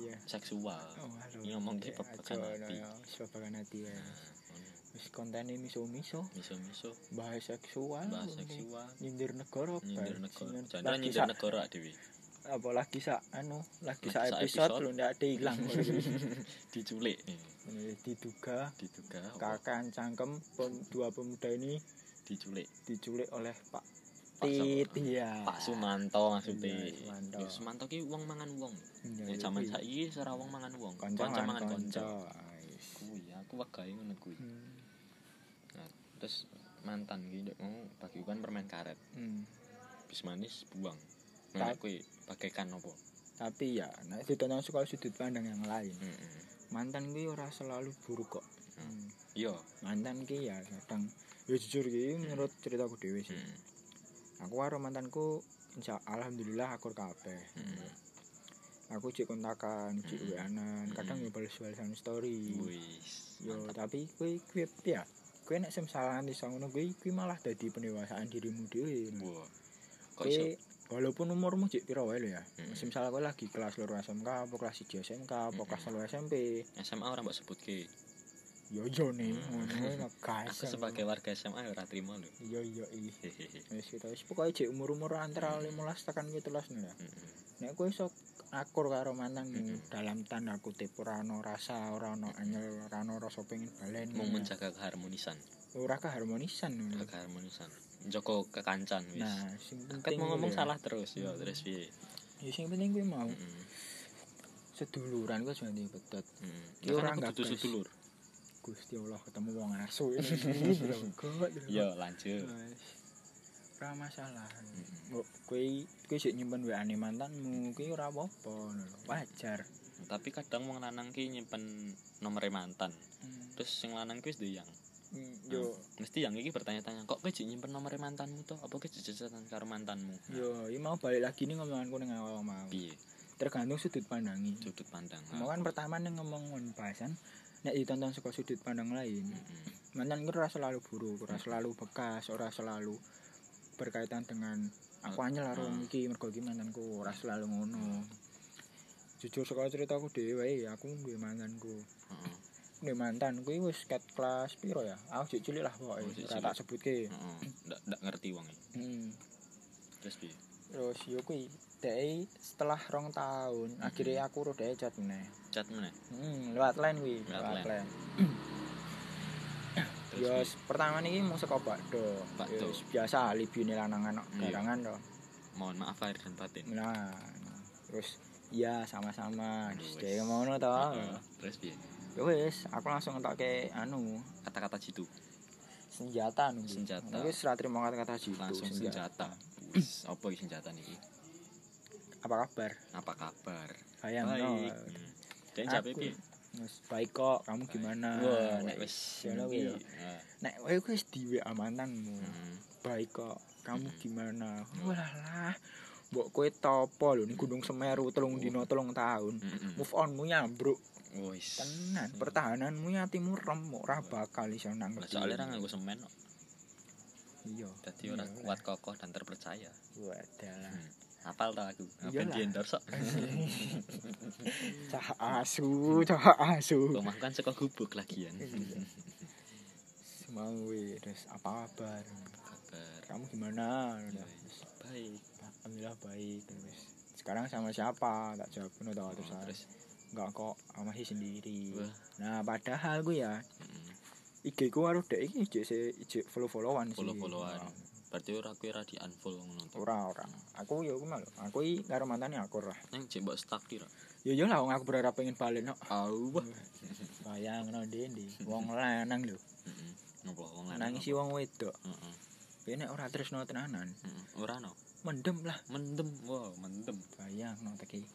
[SPEAKER 2] iya
[SPEAKER 1] seksual
[SPEAKER 2] oh aduh
[SPEAKER 1] Ini ngomong ki babakan hati. Nah,
[SPEAKER 2] babakan hati ya
[SPEAKER 1] ngono
[SPEAKER 2] wis kontene miso-miso
[SPEAKER 1] miso-miso
[SPEAKER 2] bahas seksual
[SPEAKER 1] bahas seksual
[SPEAKER 2] nyindir negara
[SPEAKER 1] nyindir
[SPEAKER 2] bajingan.
[SPEAKER 1] negara janda
[SPEAKER 2] lagi
[SPEAKER 1] nyindir
[SPEAKER 2] sak
[SPEAKER 1] negara dewi
[SPEAKER 2] apa lagi sak anu lagi
[SPEAKER 1] Lagi
[SPEAKER 2] sak
[SPEAKER 1] sak
[SPEAKER 2] episode
[SPEAKER 1] episode.
[SPEAKER 2] lho ndak ada ilang
[SPEAKER 1] diculik nih
[SPEAKER 2] Ini diduga
[SPEAKER 1] diduga apa?
[SPEAKER 2] kakak cangkem pem, dua pemuda ini
[SPEAKER 1] diculik
[SPEAKER 2] diculik oleh Pak
[SPEAKER 1] Pak siapa?
[SPEAKER 2] Tit ya
[SPEAKER 1] Pak Sumanto maksudnya
[SPEAKER 2] Iya, Sumanto.
[SPEAKER 1] Ya, Sumanto ki wong mangan wong
[SPEAKER 2] Iya,
[SPEAKER 1] Nek
[SPEAKER 2] iya,
[SPEAKER 1] Ya, jaman
[SPEAKER 2] iya.
[SPEAKER 1] saiki wis ora wong mangan wong,
[SPEAKER 2] konco
[SPEAKER 1] kanca mangan
[SPEAKER 2] konco Hmm,
[SPEAKER 1] kanca. Kuwi ya, aku wegahe ngono kuwi. Nah, terus mantan ki ndek mau bagikan permen karet,
[SPEAKER 2] hmm.
[SPEAKER 1] bis manis buang.
[SPEAKER 2] Ta-
[SPEAKER 1] Nah, kuwi bagaikan opo?
[SPEAKER 2] tapi ya nah, ditonton sekolah sudut pandang yang lain
[SPEAKER 1] Heeh.
[SPEAKER 2] mantan gue ora selalu buruk kok
[SPEAKER 1] Hmm. Yo,
[SPEAKER 2] mantan ki ya kadang ya jujur ki
[SPEAKER 1] Hmm.
[SPEAKER 2] menurut ceritaku dewe sih
[SPEAKER 1] heeh. Hmm.
[SPEAKER 2] aku karo mantanku insya alhamdulillah akur kabeh
[SPEAKER 1] heeh.
[SPEAKER 2] aku cek kontakan cek
[SPEAKER 1] Hmm.
[SPEAKER 2] weanan kadang
[SPEAKER 1] Hmm.
[SPEAKER 2] yo bales balesan story
[SPEAKER 1] Wis.
[SPEAKER 2] yo
[SPEAKER 1] mantap.
[SPEAKER 2] tapi kue kue ya kue nek semsalan di ngono kue kue malah dadi pendewasaan dirimu dhewe
[SPEAKER 1] Wah. Kok iso?
[SPEAKER 2] kue walaupun umurmu cek piro wae lho ya
[SPEAKER 1] Hmm.
[SPEAKER 2] misalnya kue lagi kelas loro SMK apa kelas 1 SMK apa
[SPEAKER 1] Hmm.
[SPEAKER 2] kelas 3 SMP
[SPEAKER 1] SMA ora mbok sebutke.
[SPEAKER 2] yo yo nih
[SPEAKER 1] Hmm.
[SPEAKER 2] ngono guys
[SPEAKER 1] Aku sebagai warga SMA ya ora trimo lho.
[SPEAKER 2] yo yo gitu, ih
[SPEAKER 1] Hehehe. Hmm.
[SPEAKER 2] wis kita wis pokoke jek umur-umur antara 15 tekan 17 nih ya.
[SPEAKER 1] Heeh.
[SPEAKER 2] Nek kowe iso akur karo mantan
[SPEAKER 1] Mm-mm.
[SPEAKER 2] dalam tanda kutip ora ono rasa ora ono anyel ora ono rasa pengen balen
[SPEAKER 1] Hmm.
[SPEAKER 2] ya.
[SPEAKER 1] mau menjaga keharmonisan
[SPEAKER 2] ora keharmonisan ngono.
[SPEAKER 1] keharmonisan Joko kekancan wis
[SPEAKER 2] nah sing
[SPEAKER 1] kan
[SPEAKER 2] penting
[SPEAKER 1] mau ngomong
[SPEAKER 2] kuwi ya.
[SPEAKER 1] salah terus yo terus piye
[SPEAKER 2] ya sing penting gue mau
[SPEAKER 1] Heeh.
[SPEAKER 2] seduluran gue cuma di betot
[SPEAKER 1] Ya
[SPEAKER 2] Ya, ora
[SPEAKER 1] kan aku
[SPEAKER 2] nggak
[SPEAKER 1] butuh
[SPEAKER 2] gas.
[SPEAKER 1] sedulur.
[SPEAKER 2] Gusti Allah ketemu wong asu ini Gawat, gawat.
[SPEAKER 1] Yo lanjut.
[SPEAKER 2] Wes. Ora masalah.
[SPEAKER 1] Mm-mm.
[SPEAKER 2] Mbok kuwi kuwi sik nyimpen WA-ne mantanmu, kuwi ora apa-apa ngono lho. Wajar.
[SPEAKER 1] Tapi kadang wong lanang ki nyimpen nomere mantan. Terus sing lanang ki wis duwe yang.
[SPEAKER 2] Mm, Yo
[SPEAKER 1] Mesti yang iki bertanya-tanya, kok kowe jek nyimpen nomere mantanmu to? Apa kowe jejetan karo mantanmu? Nah,
[SPEAKER 2] yo iki mau balik lagi nih ngomonganku ning awal mau.
[SPEAKER 1] piye
[SPEAKER 2] Tergantung sudut pandangi.
[SPEAKER 1] sudut pandang.
[SPEAKER 2] Mau kan pertama nih ngomong ngon bahasan nek ditonton saka sudut pandang lain.
[SPEAKER 1] Heeh.
[SPEAKER 2] Mantan ku ora selalu buruk, ora selalu bekas, ora selalu berkaitan dengan aku anyel karo
[SPEAKER 1] Hmm.
[SPEAKER 2] iki mergo iki mantanku ora selalu ngono. Jujur saka ceritaku dhewe, aku duwe mantanku.
[SPEAKER 1] Heeh.
[SPEAKER 2] Nih mantan kuwi wis ket kelas piro ya? Aku sik cilik lah pokoke.
[SPEAKER 1] Oh, sik
[SPEAKER 2] Ora
[SPEAKER 1] cilik.
[SPEAKER 2] tak sebutke.
[SPEAKER 1] Heeh. Ndak ndak ngerti wong iki.
[SPEAKER 2] Hmm.
[SPEAKER 1] Terus piye?
[SPEAKER 2] Terus yo kuwi dhek setelah rong tahun akhirnya aku rodae chat meneh.
[SPEAKER 1] Chat meneh.
[SPEAKER 2] Hmm, lewat line kuwi,
[SPEAKER 1] Lewat
[SPEAKER 2] lewat
[SPEAKER 1] line.
[SPEAKER 2] line.
[SPEAKER 1] Terus
[SPEAKER 2] Yo
[SPEAKER 1] piye?
[SPEAKER 2] s- pertama niki mung saka bakdo.
[SPEAKER 1] Bakdo.
[SPEAKER 2] Yo, s- biasa libine lanangan kok
[SPEAKER 1] Iya.
[SPEAKER 2] garangan to.
[SPEAKER 1] Mohon maaf lahir dan batin.
[SPEAKER 2] Nah. Terus iya sama-sama. Terus
[SPEAKER 1] Wes.
[SPEAKER 2] dhek ngono to.
[SPEAKER 1] Heeh. Terus piye?
[SPEAKER 2] Yo wis, aku langsung ngetokke anu,
[SPEAKER 1] Kata-kata jitu.
[SPEAKER 2] senjata nunggu.
[SPEAKER 1] Senjata.
[SPEAKER 2] Wis ora trimo kata-kata jitu.
[SPEAKER 1] Langsung senjata.
[SPEAKER 2] senjata.
[SPEAKER 1] Wis, apa iki senjata niki?
[SPEAKER 2] Apa kabar?
[SPEAKER 1] Apa kabar?
[SPEAKER 2] Bayang
[SPEAKER 1] Baik.
[SPEAKER 2] no.
[SPEAKER 1] Hmm. Dan jawabnya
[SPEAKER 2] Aku-
[SPEAKER 1] piye?
[SPEAKER 2] Wes baik kok, kamu gimana?
[SPEAKER 1] Wah, Ah, nek wis
[SPEAKER 2] ngono kuwi lho.
[SPEAKER 1] Heeh.
[SPEAKER 2] Nek kowe wis di WA mantanmu.
[SPEAKER 1] Hmm.
[SPEAKER 2] Baik kok, kamu
[SPEAKER 1] Mm-mm.
[SPEAKER 2] gimana?
[SPEAKER 1] Mm.
[SPEAKER 2] Walah lah. Mbok kowe topo lho ning Gunung Semeru telung dino telung tahun.
[SPEAKER 1] Mm-mm.
[SPEAKER 2] Move onmu nyambruk
[SPEAKER 1] Wis.
[SPEAKER 2] tenan, pertahananmu nyatimu remuk ora bakal iso nang
[SPEAKER 1] Hmm. Lah soalnya ora nganggo semen kok.
[SPEAKER 2] Iya.
[SPEAKER 1] Dadi ora
[SPEAKER 2] Iya,
[SPEAKER 1] kuat kokoh dan terpercaya.
[SPEAKER 2] Wadalah.
[SPEAKER 1] Hafal ta aku? Ben
[SPEAKER 2] Iyalah.
[SPEAKER 1] di endorse.
[SPEAKER 2] Cah asu, cah asu.
[SPEAKER 1] Rumah kan saka gubuk lagian.
[SPEAKER 2] Iya. Mau weh, terus apa kabar?
[SPEAKER 1] Kabar
[SPEAKER 2] Kamu gimana?
[SPEAKER 1] Iya.
[SPEAKER 2] Terus,
[SPEAKER 1] baik.
[SPEAKER 2] Alhamdulillah baik terus. Sekarang sama siapa? Tak jawab ngono tau terus.
[SPEAKER 1] Oh, Terus
[SPEAKER 2] Enggak kok, aku masih sendiri.
[SPEAKER 1] Wah.
[SPEAKER 2] Nah, padahal gue ya
[SPEAKER 1] mm,
[SPEAKER 2] IG ku karo dek iki ijek se ijek follow-followan sih.
[SPEAKER 1] Follow-followan.
[SPEAKER 2] Nah,
[SPEAKER 1] berarti ora kowe ora di unfollow ngono to.
[SPEAKER 2] Ora ora. Aku yo ku malu. Aku iki karo mantane aku ora.
[SPEAKER 1] Nang jek mbok stuck ki ra.
[SPEAKER 2] Yo yo lah Ya, wong aku berharap pengen balik no.
[SPEAKER 1] Awah.
[SPEAKER 2] Bayangno ndi wong lanang lho.
[SPEAKER 1] Heeh. Ngopo Hmm, wong lanang?
[SPEAKER 2] Nangisi wong wedok.
[SPEAKER 1] Heeh.
[SPEAKER 2] Kuwi nek ora tresno tenanan,
[SPEAKER 1] heeh. hmm. Ora no.
[SPEAKER 2] mendem lah.
[SPEAKER 1] Mendem. Wah, mendem.
[SPEAKER 2] Bayangno teki.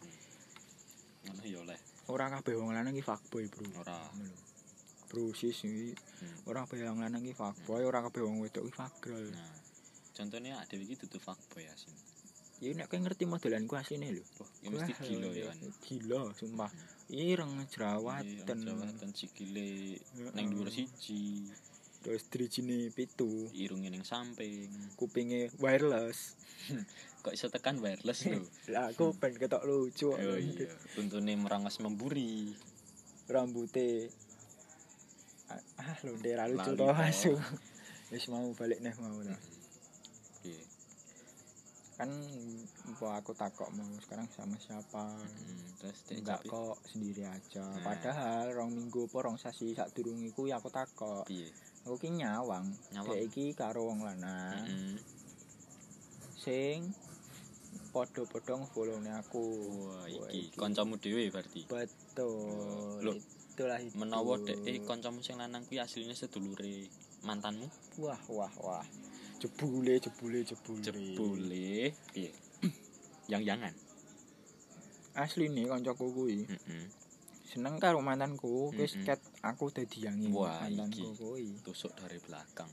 [SPEAKER 1] Ngono ya oleh.
[SPEAKER 2] Ora kabeh wong lanang iki fuckboy, Bro.
[SPEAKER 1] Ora.
[SPEAKER 2] Ngono lho. Bro sis iki
[SPEAKER 1] Hmm.
[SPEAKER 2] ora kabeh wong lanang iki fuckboy, ora kabeh wong wedok iki fuckgirl.
[SPEAKER 1] Nah. Contohnya ada iki dudu fuckboy asin.
[SPEAKER 2] Ya nek kowe ngerti modelanku asline lho.
[SPEAKER 1] Wah, ya mesti
[SPEAKER 2] Wah,
[SPEAKER 1] gila ya kan.
[SPEAKER 2] Gila, sumpah. Ireng
[SPEAKER 1] Iya,
[SPEAKER 2] jerawatan.
[SPEAKER 1] Jawatan sikile
[SPEAKER 2] Heeh.
[SPEAKER 1] nang dhuwur siji,
[SPEAKER 2] Terus drijine pitu.
[SPEAKER 1] irunge ning samping.
[SPEAKER 2] Kupinge wireless.
[SPEAKER 1] Kok iso tekan wireless lho.
[SPEAKER 2] Lah aku ben ketok lucu.
[SPEAKER 1] Hmm. Oh iya, tuntune merangas memburi.
[SPEAKER 2] Rambute ah, ah lho ndera
[SPEAKER 1] Lali
[SPEAKER 2] lucu to
[SPEAKER 1] to.
[SPEAKER 2] asu. Wis mau balik neh mau
[SPEAKER 1] Mm.
[SPEAKER 2] lah.
[SPEAKER 1] Piye?
[SPEAKER 2] Kan apa aku takok mau sekarang sama siapa?
[SPEAKER 1] Hmm, terus dek
[SPEAKER 2] Enggak
[SPEAKER 1] Japi,
[SPEAKER 2] kok sendiri aja.
[SPEAKER 1] Nah.
[SPEAKER 2] Padahal rong minggu apa rong sasi sak durung iku ya aku takok.
[SPEAKER 1] piye?
[SPEAKER 2] Aku ki nyawang.
[SPEAKER 1] Nyawang.
[SPEAKER 2] Dek iki karo wong lanang
[SPEAKER 1] Heeh.
[SPEAKER 2] sing padha-padha ngefollow-ne aku.
[SPEAKER 1] Wah,
[SPEAKER 2] Wah,
[SPEAKER 1] iki kancamu dhewe berarti.
[SPEAKER 2] Betul.
[SPEAKER 1] Loh,
[SPEAKER 2] Itulah itu.
[SPEAKER 1] Menawa dek eh, kancamu sing lanang kuwi asline sedulure mantanmu
[SPEAKER 2] Wah wah wah. Jebule jebule jebule.
[SPEAKER 1] jebule piye? Yang-yangan.
[SPEAKER 2] Asli nih kancaku kuwi.
[SPEAKER 1] Heeh.
[SPEAKER 2] Seneng karo mantanku, wis
[SPEAKER 1] Mm-mm.
[SPEAKER 2] ket aku dadi yangi
[SPEAKER 1] Wah,
[SPEAKER 2] mantanku
[SPEAKER 1] iki.
[SPEAKER 2] kuwi.
[SPEAKER 1] Tusuk dari belakang.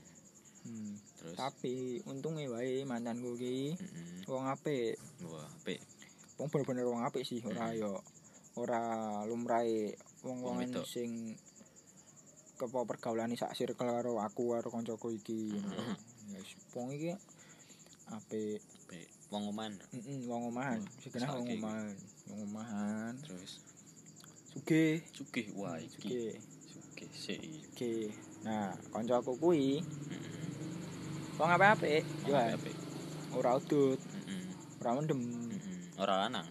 [SPEAKER 2] Hmm.
[SPEAKER 1] Terus
[SPEAKER 2] Tapi untunge wae mantanku ki
[SPEAKER 1] Heeh.
[SPEAKER 2] wong apik.
[SPEAKER 1] Wah, apik.
[SPEAKER 2] Wong bener-bener wong apik sih ora
[SPEAKER 1] Mm-mm.
[SPEAKER 2] yo ora lumrahe
[SPEAKER 1] Wong wedok.
[SPEAKER 2] wong-wongan sing kepo pergaulane sak circle karo aku karo kancaku iki.
[SPEAKER 1] Mm-mm.
[SPEAKER 2] Ya wong iki apik.
[SPEAKER 1] Apik. Wong oman.
[SPEAKER 2] Heeh, wong omahan.
[SPEAKER 1] Wah,
[SPEAKER 2] Segenah wong
[SPEAKER 1] sakit.
[SPEAKER 2] omahan. Wong omahan.
[SPEAKER 1] Terus
[SPEAKER 2] Sugih.
[SPEAKER 1] sugih wah iki.
[SPEAKER 2] Hmm, Sugih.
[SPEAKER 1] Sugih sik.
[SPEAKER 2] Oke. Nah, kanca aku kuwi wong apik-apik, yo
[SPEAKER 1] Apik.
[SPEAKER 2] ora udut,
[SPEAKER 1] Heeh.
[SPEAKER 2] ora mendem,
[SPEAKER 1] Heeh. Ora lanang.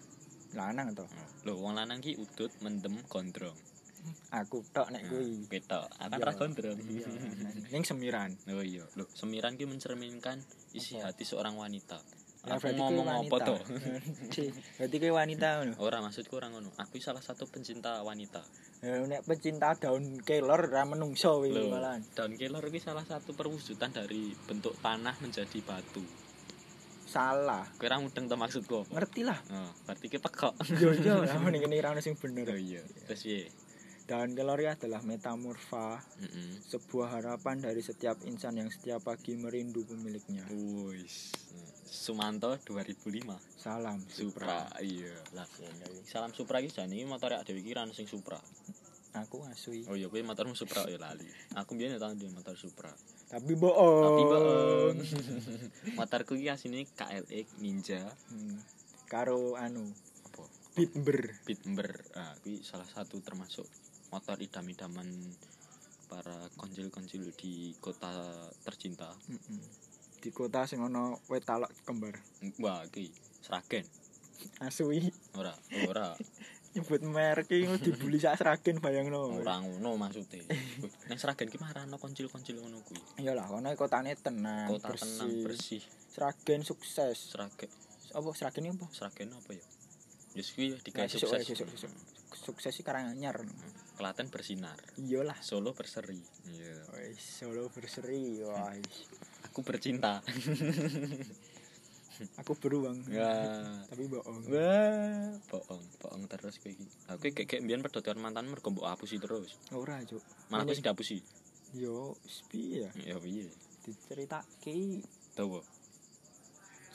[SPEAKER 2] lanang to.
[SPEAKER 1] Lho, wong lanang ki udut, mendem, gondrong.
[SPEAKER 2] Aku tok nek kuwi.
[SPEAKER 1] Ketok, akan
[SPEAKER 2] Iya.
[SPEAKER 1] ra gondrong.
[SPEAKER 2] Iya. Ning semiran.
[SPEAKER 1] Oh iya, lho, semiran ki mencerminkan isi
[SPEAKER 2] Apa?
[SPEAKER 1] hati seorang wanita.
[SPEAKER 2] Ya,
[SPEAKER 1] Aku
[SPEAKER 2] berarti kuwi
[SPEAKER 1] ngomong apa
[SPEAKER 2] wanita.
[SPEAKER 1] to?
[SPEAKER 2] Cih, Berarti kuwi wanita ngono.
[SPEAKER 1] Ora maksudku ora ngono. Aku salah satu pencinta wanita.
[SPEAKER 2] Ya, Nek pecinta daun kelor ra menungso kuwi
[SPEAKER 1] Lho,
[SPEAKER 2] malahan.
[SPEAKER 1] daun kelor ini salah satu perwujudan dari bentuk tanah menjadi batu.
[SPEAKER 2] Salah.
[SPEAKER 1] Kira mudeng to maksudku apa?
[SPEAKER 2] Ngerti lah.
[SPEAKER 1] Nah, berarti ki pekok.
[SPEAKER 2] Yo yo, lah ning ngene ra ono sing
[SPEAKER 1] Oh
[SPEAKER 2] bener.
[SPEAKER 1] iya. Terus piye?
[SPEAKER 2] Daun kelor ya adalah metamorfa,
[SPEAKER 1] Heeh.
[SPEAKER 2] sebuah harapan dari setiap insan yang setiap pagi merindu pemiliknya.
[SPEAKER 1] Wis. Sumanto 2005
[SPEAKER 2] Salam
[SPEAKER 1] Supra. Iya. Lah. Salam Supra iki jane iki motor awake dhewe iki ra ono sing Supra.
[SPEAKER 2] Aku asui.
[SPEAKER 1] Oh iya, kowe motormu Supra ya lali. Oh. Aku biyen tau duwe motor Supra.
[SPEAKER 2] Tapi bohong.
[SPEAKER 1] Tapi bohong. Motorku iki asline KLX Ninja
[SPEAKER 2] Hmm. Karo anu,
[SPEAKER 1] apa?
[SPEAKER 2] Bitber.
[SPEAKER 1] Bitmber. Ah, kuwi salah satu termasuk motor idam-idaman para konjil-konjil di kota tercinta.
[SPEAKER 2] Mm-mm. Di kota sing ana wit talak kembar.
[SPEAKER 1] Wah, iki Sragen.
[SPEAKER 2] Asui
[SPEAKER 1] Ora, ora,
[SPEAKER 2] nyebut merek iki dibully sak Sragen bayangno.
[SPEAKER 1] ora ngono maksude. Nek Sragen ki marano konjil-konjil ngono kuwi.
[SPEAKER 2] Iyalah, kono kotane tenang,
[SPEAKER 1] Kota tenang, bersih.
[SPEAKER 2] Sragen sukses.
[SPEAKER 1] Sragen,
[SPEAKER 2] Apa Sragen iki apa?
[SPEAKER 1] Sragen apa ya? Yus kuwi
[SPEAKER 2] Nah,
[SPEAKER 1] dikai
[SPEAKER 2] sesuk,
[SPEAKER 1] sukses. Hmm.
[SPEAKER 2] sesuk, sesuk. Sukses iki Karanganyar.
[SPEAKER 1] Klaten bersinar.
[SPEAKER 2] Iyalah.
[SPEAKER 1] Solo berseri. Iya.
[SPEAKER 2] Wis solo berseri, wah. wis.
[SPEAKER 1] Aku bercinta.
[SPEAKER 2] Aku beruang.
[SPEAKER 1] Ya.
[SPEAKER 2] Tapi bohong.
[SPEAKER 1] Wah, bohong, bohong terus kowe iki. Aku iki kayak mbiyen pedotan mantan mergo mbok hapusi terus.
[SPEAKER 2] Ora, Cuk.
[SPEAKER 1] Malah
[SPEAKER 2] Iya.
[SPEAKER 1] aku sing dihapusi.
[SPEAKER 2] Yo, wis piye ya?
[SPEAKER 1] Ya piye?
[SPEAKER 2] Diceritake
[SPEAKER 1] Tawa.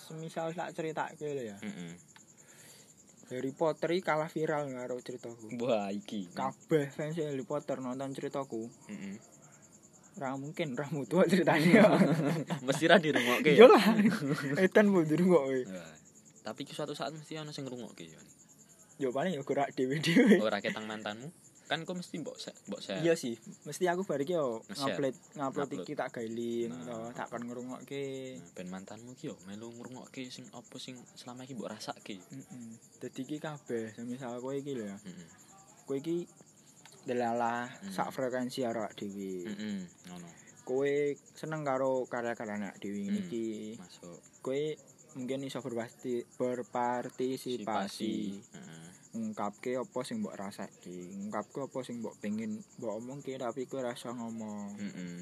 [SPEAKER 2] semisal tak ceritake lho ya.
[SPEAKER 1] Heeh.
[SPEAKER 2] Harry Potter iki kalah viral karo ceritaku.
[SPEAKER 1] Wah, iki.
[SPEAKER 2] Kabeh fans Harry Potter nonton ceritaku.
[SPEAKER 1] Heeh.
[SPEAKER 2] Ra mungkin ra mutu ceritanya.
[SPEAKER 1] Mesti ra dirungokke. ya?
[SPEAKER 2] Iya lah. Etan mundur kok. we.
[SPEAKER 1] Wah. Tapi iki suatu saat mesti ana sing ngrungokke ya.
[SPEAKER 2] Yo paling yo gerak dhewe-dhewe.
[SPEAKER 1] Ora ketang mantanmu. Kan kok mesti mbok se- mbok se.
[SPEAKER 2] Iya sih, mesti aku bar iki yo
[SPEAKER 1] Nge-share.
[SPEAKER 2] ngupload ngupload
[SPEAKER 1] Ngupload.
[SPEAKER 2] iki tak gawe link
[SPEAKER 1] Nah.
[SPEAKER 2] to, tak kon ngrungokke.
[SPEAKER 1] Nah, Ben mantanmu ki yo melu ngrungokke sing apa sing selama iki mbok rasakke.
[SPEAKER 2] Heeh. Dadi iki kabeh, misal kowe iki lho ya.
[SPEAKER 1] Heeh.
[SPEAKER 2] Kowe iki delalah
[SPEAKER 1] Hmm.
[SPEAKER 2] sak frekuensi karo awak dhewe.
[SPEAKER 1] Heeh. Ngono.
[SPEAKER 2] Kowe seneng karo karya-karya anak dhewe
[SPEAKER 1] Hmm.
[SPEAKER 2] ngene iki.
[SPEAKER 1] Masuk
[SPEAKER 2] Kowe mungkin iso berpasti berpartisipasi.
[SPEAKER 1] sipasi. Heeh.
[SPEAKER 2] ngungkapke apa sing mbok rasake ngungkapke apa sing mbok pengen mbok omongke tapi kowe rasa ngomong
[SPEAKER 1] Heeh.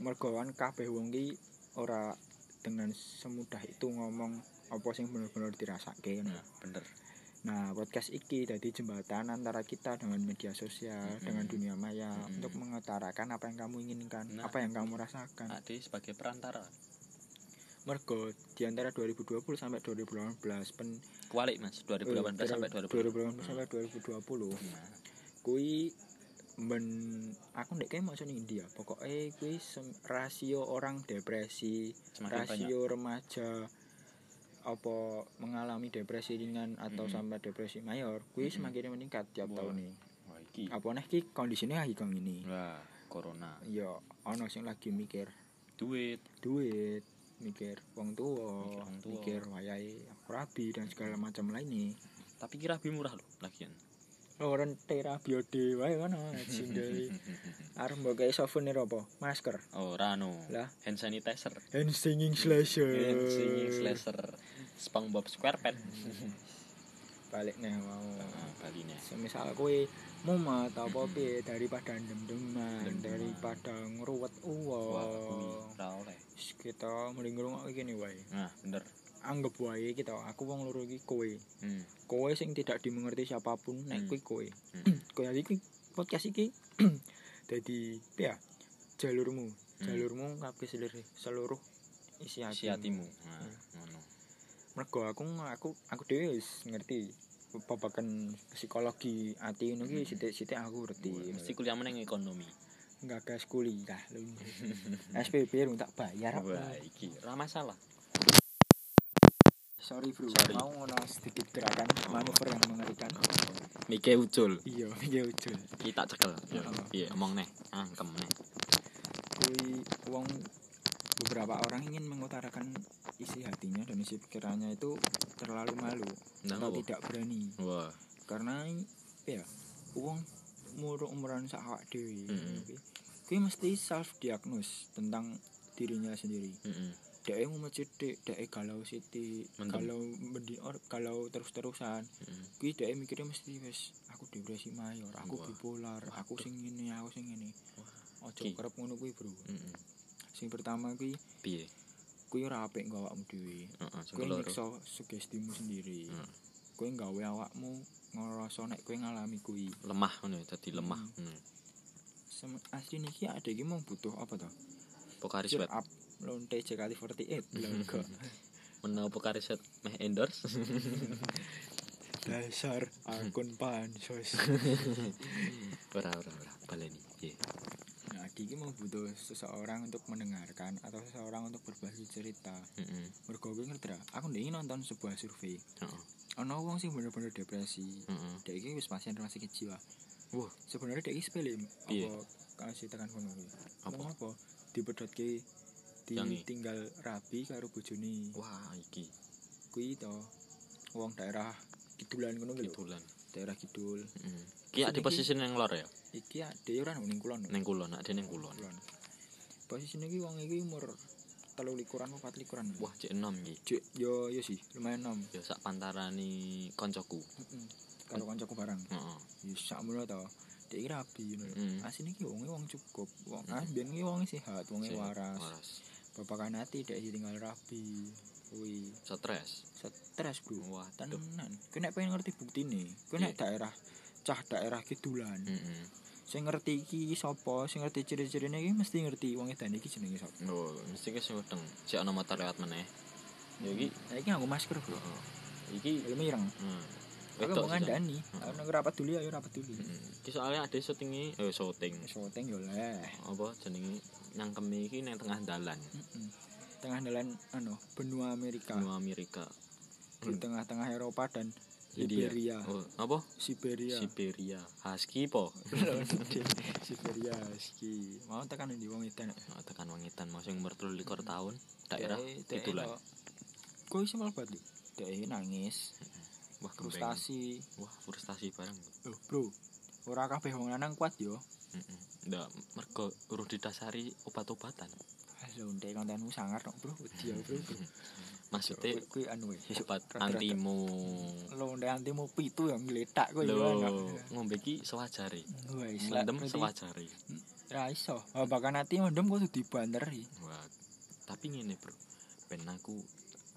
[SPEAKER 2] mergo kan kabeh wong ki ora dengan semudah itu ngomong apa sing bener-bener dirasake
[SPEAKER 1] Nah, bener.
[SPEAKER 2] nah podcast iki jadi jembatan antara kita dengan media sosial
[SPEAKER 1] Mm-mm.
[SPEAKER 2] dengan dunia maya
[SPEAKER 1] Mm-mm.
[SPEAKER 2] untuk mengutarakan apa yang kamu inginkan
[SPEAKER 1] Hmm. Nah.
[SPEAKER 2] apa yang kamu rasakan
[SPEAKER 1] Ade sebagai perantara.
[SPEAKER 2] mergo di antara 2020 sampai 2018 pen eh,
[SPEAKER 1] Kualik Mas, 2018 sampai 2020.
[SPEAKER 2] 2018 sampai 2020
[SPEAKER 1] Nah,
[SPEAKER 2] kui men aku ndek kayak maksudnya India pokoknya kui sem- rasio orang depresi
[SPEAKER 1] semakin banyak.
[SPEAKER 2] rasio remaja apa mengalami depresi ringan atau
[SPEAKER 1] Mm-mm.
[SPEAKER 2] sampai depresi mayor kui
[SPEAKER 1] Mm-mm.
[SPEAKER 2] semakin meningkat tiap
[SPEAKER 1] Wah.
[SPEAKER 2] tahun nih
[SPEAKER 1] Wah, iki.
[SPEAKER 2] apa nih ki kondisinya lagi kang ini
[SPEAKER 1] Wah, corona.
[SPEAKER 2] ya ono sing lagi mikir
[SPEAKER 1] Duit.
[SPEAKER 2] duit mikir wong tua
[SPEAKER 1] Mikir wong tua.
[SPEAKER 2] mikir wayai aku rabi dan segala macam lainnya
[SPEAKER 1] Tapi kira lebih murah loh lagian.
[SPEAKER 2] orang terapi dewa kan sindai arep mbok kei souvenir apa masker
[SPEAKER 1] oh, Rano.
[SPEAKER 2] Lah.
[SPEAKER 1] Hand sanitizer.
[SPEAKER 2] hand singing slasher
[SPEAKER 1] Hand singing slasher. SpongeBob SquarePants.
[SPEAKER 2] balik nih mau
[SPEAKER 1] Nah, Baline.
[SPEAKER 2] semisal kowe mumet apa piye daripada dem-deman
[SPEAKER 1] Dem-deman.
[SPEAKER 2] daripada ngruwet
[SPEAKER 1] Wah,
[SPEAKER 2] uwong
[SPEAKER 1] ora oleh.
[SPEAKER 2] Wis kita mending ngrungokne kene wae
[SPEAKER 1] Nah, Ah, bener.
[SPEAKER 2] anggap wae kita aku wong loro iki kowe
[SPEAKER 1] Hmm.
[SPEAKER 2] kowe sing tidak dimengerti siapapun
[SPEAKER 1] Hmm.
[SPEAKER 2] nek kuwi kowe
[SPEAKER 1] Hmm.
[SPEAKER 2] kowe iki podcast iki dadi piye ya, jalurmu jalurmu kabeh seluruh seluruh isi hatimu,
[SPEAKER 1] Hmm. Isi hatimu. Nah, ngono.
[SPEAKER 2] mergo aku aku aku dhewe wis ngerti babagan psikologi ati ngono
[SPEAKER 1] Hmm.
[SPEAKER 2] ki sithik-sithik aku ngerti
[SPEAKER 1] Mesti kuliahmu nang ekonomi.
[SPEAKER 2] enggak gas kuliah lu SPP lu tak bayar
[SPEAKER 1] Wah, iki Hmm. ra masalah.
[SPEAKER 2] sorry bro
[SPEAKER 1] Sorry. Oh.
[SPEAKER 2] mau ngono sedikit gerakan manuver yang mengerikan
[SPEAKER 1] Mike ucul.
[SPEAKER 2] iya iya ujul
[SPEAKER 1] Kita cekel.
[SPEAKER 2] Heeh.
[SPEAKER 1] Iya, omong neh. Angkem neh.
[SPEAKER 2] kuwi wong beberapa orang ingin mengutarakan isi hatinya dan isi pikirannya itu terlalu malu
[SPEAKER 1] Nah,
[SPEAKER 2] atau
[SPEAKER 1] apa?
[SPEAKER 2] tidak berani
[SPEAKER 1] wah
[SPEAKER 2] karena ya uang muruk umuran sak awak dhewe.
[SPEAKER 1] Mm-mm.
[SPEAKER 2] Oke. Kuwi mesti self diagnose tentang dirinya sendiri.
[SPEAKER 1] Mm-mm.
[SPEAKER 2] Dek mau cedek, dek e galau siti,
[SPEAKER 1] Mendem.
[SPEAKER 2] galau mendi or, galau terus-terusan.
[SPEAKER 1] Mm-mm.
[SPEAKER 2] Kuwi dek e mikirnya mesti wis aku depresi mayor, aku
[SPEAKER 1] Wah.
[SPEAKER 2] bipolar, aku sing ngene, aku sing ngene. Ojo
[SPEAKER 1] Ki.
[SPEAKER 2] kerep ngono kuwi, Bro.
[SPEAKER 1] Mm-mm.
[SPEAKER 2] Sing pertama kuwi
[SPEAKER 1] piye
[SPEAKER 2] kuwi ora apik nggo awakmu dhewe.
[SPEAKER 1] Heeh, sing
[SPEAKER 2] Kuwi
[SPEAKER 1] keloro. Hmm.
[SPEAKER 2] nyiksa sugestimu sendiri.
[SPEAKER 1] Heeh.
[SPEAKER 2] Kuwi nggawe awakmu ngerasa nek kuwi ngalami kuwi.
[SPEAKER 1] lemah ngono ya, dadi lemah Hmm. ngono
[SPEAKER 2] Sem- asline iki ada iki mau butuh apa to?
[SPEAKER 1] pokaris
[SPEAKER 2] Cheer
[SPEAKER 1] wet
[SPEAKER 2] up lonte JKT48 logo
[SPEAKER 1] menawa pokaris wet meh endorse
[SPEAKER 2] dasar akun pansos.
[SPEAKER 1] ora ora ora baleni piye
[SPEAKER 2] nah, iki mau butuh seseorang untuk mendengarkan atau seseorang untuk berbagi cerita.
[SPEAKER 1] heeh
[SPEAKER 2] Mergo kuwi ngerti ra, aku ndek iki nonton sebuah survei.
[SPEAKER 1] heeh
[SPEAKER 2] Ana wong sing bener-bener depresi.
[SPEAKER 1] heeh
[SPEAKER 2] Dek iki wis pasien rumah sakit jiwa.
[SPEAKER 1] Wah.
[SPEAKER 2] sebenarnya dek iki sepele
[SPEAKER 1] Piye?
[SPEAKER 2] apa kasih tekan kono kuwi.
[SPEAKER 1] Apa?
[SPEAKER 2] Ngomong apa? Dipedhotke
[SPEAKER 1] Yangi.
[SPEAKER 2] ditinggal rabi karo bojone.
[SPEAKER 1] wah iki
[SPEAKER 2] Kuwi to wong daerah kidulan ngono kuwi lho.
[SPEAKER 1] kitulan
[SPEAKER 2] daerah kidul
[SPEAKER 1] heeh ki ada
[SPEAKER 2] Iki-
[SPEAKER 1] posisi nang lor ya
[SPEAKER 2] iki ade ora nang ning kulon
[SPEAKER 1] nang kulon ada nang kulon
[SPEAKER 2] kulon posisine iki wong iki umur 23an apa 24an
[SPEAKER 1] wah cek enom iki
[SPEAKER 2] Jek, yo yo sih lumayan nom
[SPEAKER 1] ya sak pantarani koncoku
[SPEAKER 2] Mm-mm. karo kancaku bareng
[SPEAKER 1] heeh
[SPEAKER 2] yo sak mulo to dek iki rabi ngono lho.
[SPEAKER 1] Mm.
[SPEAKER 2] asine iki wonge wong cukup wong
[SPEAKER 1] Mm.
[SPEAKER 2] ah biyen iki wong sehat wong
[SPEAKER 1] Sehat,
[SPEAKER 2] waras babakan hati dek iki tinggal rabi kuwi
[SPEAKER 1] stres
[SPEAKER 2] stres bro
[SPEAKER 1] wah tenan
[SPEAKER 2] tenan kuwi nek pengen ngerti buktine kuwi
[SPEAKER 1] Iya.
[SPEAKER 2] nek
[SPEAKER 1] Hmm.
[SPEAKER 2] daerah cah daerah kidulan
[SPEAKER 1] heeh
[SPEAKER 2] sing ngerti iki sapa sing ngerti ciri-cirine iki mesti ngerti wong edan iki jenenge sapa
[SPEAKER 1] Oh, mesti ki sing wedeng. Sik ana motor lewat meneh. Ya iki,
[SPEAKER 2] nah iki nganggo masker bro
[SPEAKER 1] heeh. Iki
[SPEAKER 2] ilmu ireng
[SPEAKER 1] hmm.
[SPEAKER 2] aku
[SPEAKER 1] wedok sih,
[SPEAKER 2] mau
[SPEAKER 1] Jan.
[SPEAKER 2] ngandani
[SPEAKER 1] Heeh.
[SPEAKER 2] aku nek rapat dulu ya ayo rapat dulu
[SPEAKER 1] Mm. Iki soalnya ada syutingi, eh syuting.
[SPEAKER 2] syuting yo leh
[SPEAKER 1] Apa jenenge nyangkeme iki nang tengah dalan.
[SPEAKER 2] Mm-mm. tengah dalan anu benua Amerika
[SPEAKER 1] Benua Amerika.
[SPEAKER 2] di tengah-tengah Eropa dan
[SPEAKER 1] India.
[SPEAKER 2] Liberia
[SPEAKER 1] Oh, apa?
[SPEAKER 2] Siberia
[SPEAKER 1] Siberia. Husky po.
[SPEAKER 2] Siberia iki mau tekan ndi wong edan
[SPEAKER 1] Nah, tekan wong edan mau sing umur 23 tahun, daerah
[SPEAKER 2] Dek- dek
[SPEAKER 1] itulah.
[SPEAKER 2] kok- kok iso mlebu lho dek nangis
[SPEAKER 1] Wah, frustasi.
[SPEAKER 2] frustasi
[SPEAKER 1] Wah, frustasi bareng.
[SPEAKER 2] Loh, bro ora kabeh wong lanang kuat yo
[SPEAKER 1] Heeh. Ndak mergo urung didasari obat-obatan.
[SPEAKER 2] Halo, ndek kontenmu sangar no, Bro. Wedi ya, Bro.
[SPEAKER 1] Maksudnya
[SPEAKER 2] kuwi anu wis
[SPEAKER 1] obat antimo
[SPEAKER 2] Lo ndek antimu pitu yang gletak kuwi
[SPEAKER 1] Lho,
[SPEAKER 2] ya.
[SPEAKER 1] ngombe iki sewajare.
[SPEAKER 2] Wis lek
[SPEAKER 1] Mendem
[SPEAKER 2] berarti
[SPEAKER 1] sewajare.
[SPEAKER 2] ra iso. Oh, bahkan ati mendem kok kudu dibanteri.
[SPEAKER 1] Wah. Tapi ngene, Bro. Ben aku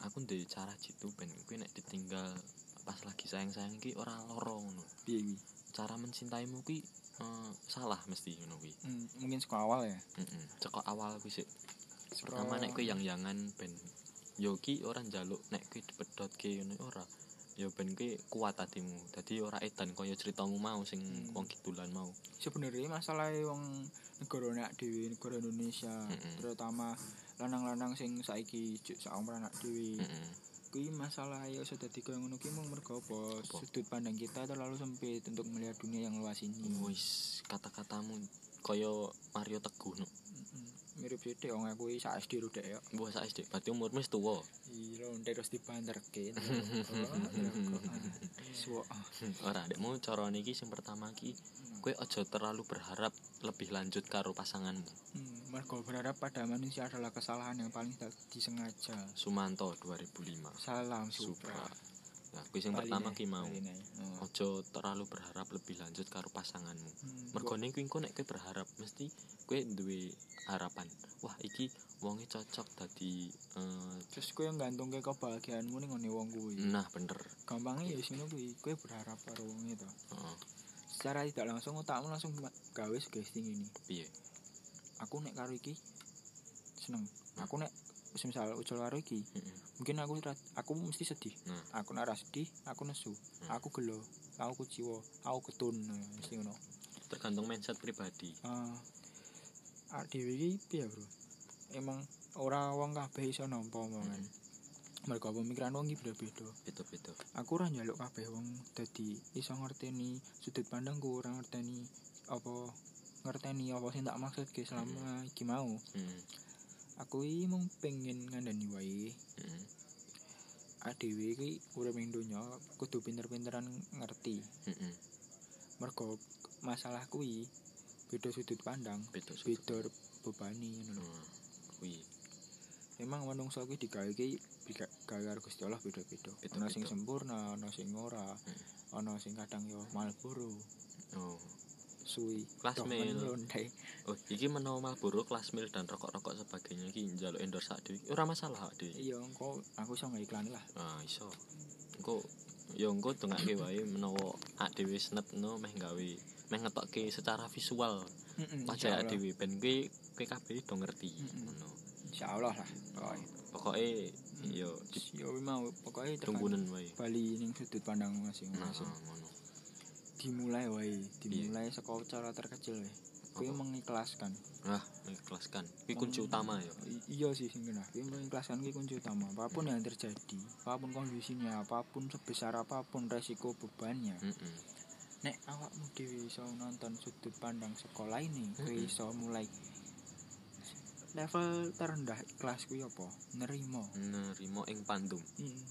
[SPEAKER 1] aku nduwe cara jitu ben kuwi nek ditinggal pas lagi sayang-sayang iki ora loro ngono.
[SPEAKER 2] Piye kuwi?
[SPEAKER 1] Cara mencintaimu kuwi eh, salah mesti ngono kuwi.
[SPEAKER 2] Hmm, mungkin saka awal ya.
[SPEAKER 1] Heeh. Cekok awal kuwi sik.
[SPEAKER 2] Saka-
[SPEAKER 1] Pertama nek
[SPEAKER 2] Oh.
[SPEAKER 1] kuwi yang-yangan ben yo ki ora njaluk nek kuwi dipedhotke ngono ora. Yo ben kuwi kuat atimu. Dadi ora edan kaya ceritamu mau sing
[SPEAKER 2] Hmm.
[SPEAKER 1] wong kidulan mau.
[SPEAKER 2] sebenarnya masalah wong negara nak dhewe negara Indonesia,
[SPEAKER 1] Mm-mm.
[SPEAKER 2] terutama lanang-lanang sing saiki juk sak umur anak dhewe.
[SPEAKER 1] Heeh.
[SPEAKER 2] Kuwi masalah ya sudah dadi koyo ngono kuwi mung mergo apa?
[SPEAKER 1] Apa?
[SPEAKER 2] Sudut pandang kita terlalu sempit untuk melihat dunia yang luas ini.
[SPEAKER 1] Wis kata-katamu kaya Mario Teguh no.
[SPEAKER 2] Mm-mm. Mm. mirip sithik wong aku iki sak SD rodek ya.
[SPEAKER 1] Mbah sak SD, berarti umurmu wis tuwa.
[SPEAKER 2] Iya, ndek terus dibanterke. Oh, iya. Suwok.
[SPEAKER 1] Hmm. Ora, dekmu carane iki sing pertama iki
[SPEAKER 2] Hmm.
[SPEAKER 1] kowe aja terlalu berharap lebih lanjut karo pasanganmu.
[SPEAKER 2] Hmm, Mergo berharap pada manusia adalah kesalahan yang paling tidak disengaja.
[SPEAKER 1] Sumanto 2005.
[SPEAKER 2] Salam
[SPEAKER 1] Supra.
[SPEAKER 2] Supra.
[SPEAKER 1] Nah, kuwi sing
[SPEAKER 2] Bali
[SPEAKER 1] pertama
[SPEAKER 2] nih,
[SPEAKER 1] ki mau. Oh.
[SPEAKER 2] Bali nih. Hmm.
[SPEAKER 1] Aja terlalu berharap lebih lanjut karo pasanganmu.
[SPEAKER 2] Hmm, gua-
[SPEAKER 1] Mergone kuwi engko nek kowe berharap mesti kowe duwe harapan. Wah, iki wonge cocok dadi eh,
[SPEAKER 2] terus kowe nggantungke kebahagiaanmu ning ngene wong kuwi.
[SPEAKER 1] nah bener.
[SPEAKER 2] Gampangnya ya sini kuwi, kowe berharap karo wong itu.
[SPEAKER 1] Heeh,
[SPEAKER 2] Secara tidak langsung otakmu langsung ma- gawe sugesti ini.
[SPEAKER 1] piye?
[SPEAKER 2] Aku nek karo iki seneng. Aku nek misal ujul karo iki,
[SPEAKER 1] Heeh.
[SPEAKER 2] mungkin aku ra- aku mesti sedih
[SPEAKER 1] Nah.
[SPEAKER 2] aku nek ora sedih aku nesu aku gelo aku kuciwa aku ketun nah, mesti ngono
[SPEAKER 1] Tergantung mindset pribadi.
[SPEAKER 2] ah awak dhewe iki piye bro emang ora wong kabeh iso nampa omongan
[SPEAKER 1] Hmm.
[SPEAKER 2] mergo pemikiran wong iki beda-beda
[SPEAKER 1] Beda-beda.
[SPEAKER 2] aku ora njaluk kabeh wong dadi iso ngerteni sudut pandangku ora ngerteni apa ngerteni apa sing tak maksud selama iki mau
[SPEAKER 1] Hmm.
[SPEAKER 2] aku iki mung pengen ngandani wae
[SPEAKER 1] Heeh.
[SPEAKER 2] adewe iki urip ning donya kudu pinter-pinteran ngerti
[SPEAKER 1] Heeh.
[SPEAKER 2] mergo masalah kuwi beda sudut pandang
[SPEAKER 1] Beda sudut.
[SPEAKER 2] beda bebani ngono lho.
[SPEAKER 1] Nah, kuwi
[SPEAKER 2] emang menungso iki digawe iki diga- gawe karo Gusti Allah beda-beda ana sing
[SPEAKER 1] Beda-beda.
[SPEAKER 2] sempurna ana sing ora ana sing kadang yo malboro
[SPEAKER 1] oh
[SPEAKER 2] suwi
[SPEAKER 1] Kelas
[SPEAKER 2] Toh
[SPEAKER 1] mil.
[SPEAKER 2] menonte.
[SPEAKER 1] oh iki menawa Marlboro kelas mil dan rokok-rokok sebagainya iki njaluk endorse sak dhewe ora masalah sak dhewe
[SPEAKER 2] iya engko aku iso ngiklani lah
[SPEAKER 1] ah iso engko ya engko dengake wae menawa ak dhewe senepno meh gawe meh ngetokke secara visual
[SPEAKER 2] Mm-mm,
[SPEAKER 1] wajah
[SPEAKER 2] insyaallah.
[SPEAKER 1] ak dhewe ben kuwi kuwi kabeh do ngerti
[SPEAKER 2] Mm-mm.
[SPEAKER 1] ngono
[SPEAKER 2] insyaallah lah pokoke
[SPEAKER 1] pokoke ya
[SPEAKER 2] Terus yo kuwi mau pokoke tergantung
[SPEAKER 1] tunggunen wae
[SPEAKER 2] Bali ning sudut pandang
[SPEAKER 1] nah
[SPEAKER 2] masing-masing
[SPEAKER 1] ngono
[SPEAKER 2] dimulai wae dimulai saka cara terkecil wae kuwi
[SPEAKER 1] Apa?
[SPEAKER 2] mengikhlaskan
[SPEAKER 1] ah mengikhlaskan kuwi kunci utama ya
[SPEAKER 2] I- iya sih sing kena kuwi mengikhlaskan kuwi kunci utama apapun yang terjadi apapun kondisinya apapun sebesar apapun resiko bebannya
[SPEAKER 1] heeh
[SPEAKER 2] nek awakmu dhewe iso nonton sudut pandang sekolah ini kuwi
[SPEAKER 1] Mm-mm.
[SPEAKER 2] iso mulai level terendah kelas kuwi apa nerimo
[SPEAKER 1] nerimo ing pandum
[SPEAKER 2] Mm.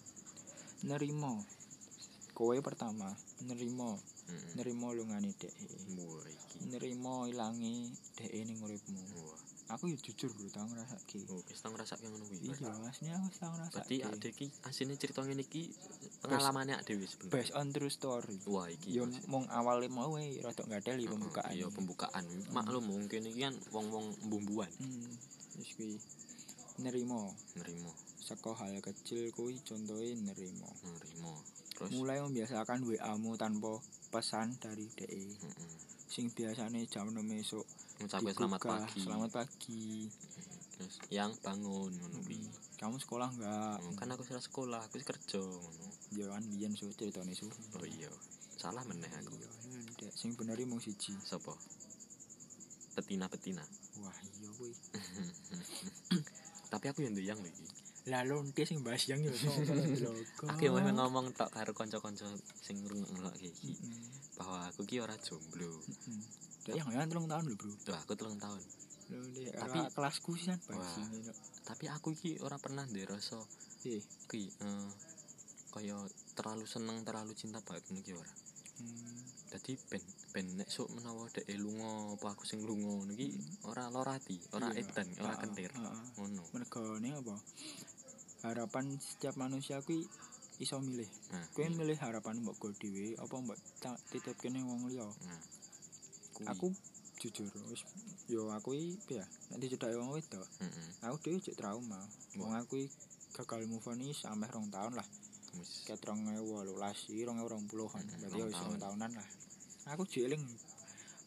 [SPEAKER 2] nerimo kowe pertama nerimo
[SPEAKER 1] heeh
[SPEAKER 2] nerimo lungane dhek
[SPEAKER 1] Wah, iki
[SPEAKER 2] nerimo ilange dhek ning uripmu
[SPEAKER 1] Wah.
[SPEAKER 2] aku ya jujur lho tau ngrasake
[SPEAKER 1] Oh, wis tau ngrasakne ngono kuwi.
[SPEAKER 2] iya maksudnya aku tau ngrasake
[SPEAKER 1] Berarti ak dhewe iki asline cerita ngene iki pengalamane ak dhewe sebenarnya.
[SPEAKER 2] based on true story
[SPEAKER 1] Wah, iki.
[SPEAKER 2] yo
[SPEAKER 1] maksud-
[SPEAKER 2] mung awale mau wae rada ngadeli
[SPEAKER 1] Heeh,
[SPEAKER 2] pembukaan
[SPEAKER 1] Iya, pembukaan. Maklum mungkin iki kan wong-wong bumbuan
[SPEAKER 2] hmm wis kuwi nerimo
[SPEAKER 1] nerimo,
[SPEAKER 2] saka hal kecil kuwi contohe nerimo
[SPEAKER 1] mm, nerimo. Terus
[SPEAKER 2] mulai membiasakan WA mu tanpa pesan dari DE
[SPEAKER 1] heeh.
[SPEAKER 2] sing biasane jam 6 esuk
[SPEAKER 1] Ngucapin selamat
[SPEAKER 2] digugah,
[SPEAKER 1] pagi.
[SPEAKER 2] selamat pagi
[SPEAKER 1] Terus yang bangun ngono kuwi.
[SPEAKER 2] kamu sekolah enggak
[SPEAKER 1] Oh, Hmm. Kan aku salah sekolah, aku wis kerja ngono.
[SPEAKER 2] ya kan biyen su ceritane su
[SPEAKER 1] Oh iya. Salah meneh aku.
[SPEAKER 2] Iya, ndek. sing bener iki mung siji
[SPEAKER 1] Sopo? Petina-petina.
[SPEAKER 2] wah iya kuwi
[SPEAKER 1] Tapi aku yang nduyang lho iki.
[SPEAKER 2] lah lonte sing bahas yang yo sapa logo
[SPEAKER 1] Aku yang wis ngomong tok karo kanca-kanca sing ngrungokne iki bahwa aku ki ora jomblo.
[SPEAKER 2] Dek Hmm, yang yang telung tahun lho bro
[SPEAKER 1] Tuh aku telung tahun
[SPEAKER 2] Lho, Ndek,
[SPEAKER 1] Tapi-
[SPEAKER 2] ora kelasku sih kan
[SPEAKER 1] Wah.
[SPEAKER 2] bahas ini lho.
[SPEAKER 1] tapi aku iki ora pernah ndek rasa
[SPEAKER 2] Eh,
[SPEAKER 1] ki eh, kaya terlalu seneng terlalu cinta banget ngono ki ora
[SPEAKER 2] hmm,
[SPEAKER 1] dadi ben ben nek sok menawa dek lunga apa aku sing lunga ngono ki ora lorati ora
[SPEAKER 2] iya.
[SPEAKER 1] edan ora
[SPEAKER 2] Ah,
[SPEAKER 1] kentir
[SPEAKER 2] ah, ah.
[SPEAKER 1] ngono
[SPEAKER 2] mergane apa harapan setiap manusia kuwi iso milih
[SPEAKER 1] nah
[SPEAKER 2] kowe milih harapan mbok go dhewe apa mbok ta- titipke ning wong liya
[SPEAKER 1] nah kuwi.
[SPEAKER 2] aku jujur wis yo aku iki ya nek dicedhaki wong wedok
[SPEAKER 1] Mm-mm.
[SPEAKER 2] aku dhewe cek trauma wong aku iki gagal move on iki sampe rong tahun lah
[SPEAKER 1] Wis.
[SPEAKER 2] ket 2018 iki 2020-an
[SPEAKER 1] Mm,
[SPEAKER 2] berarti
[SPEAKER 1] rong
[SPEAKER 2] yo wis
[SPEAKER 1] tahun.
[SPEAKER 2] 2 tahunan lah aku jeling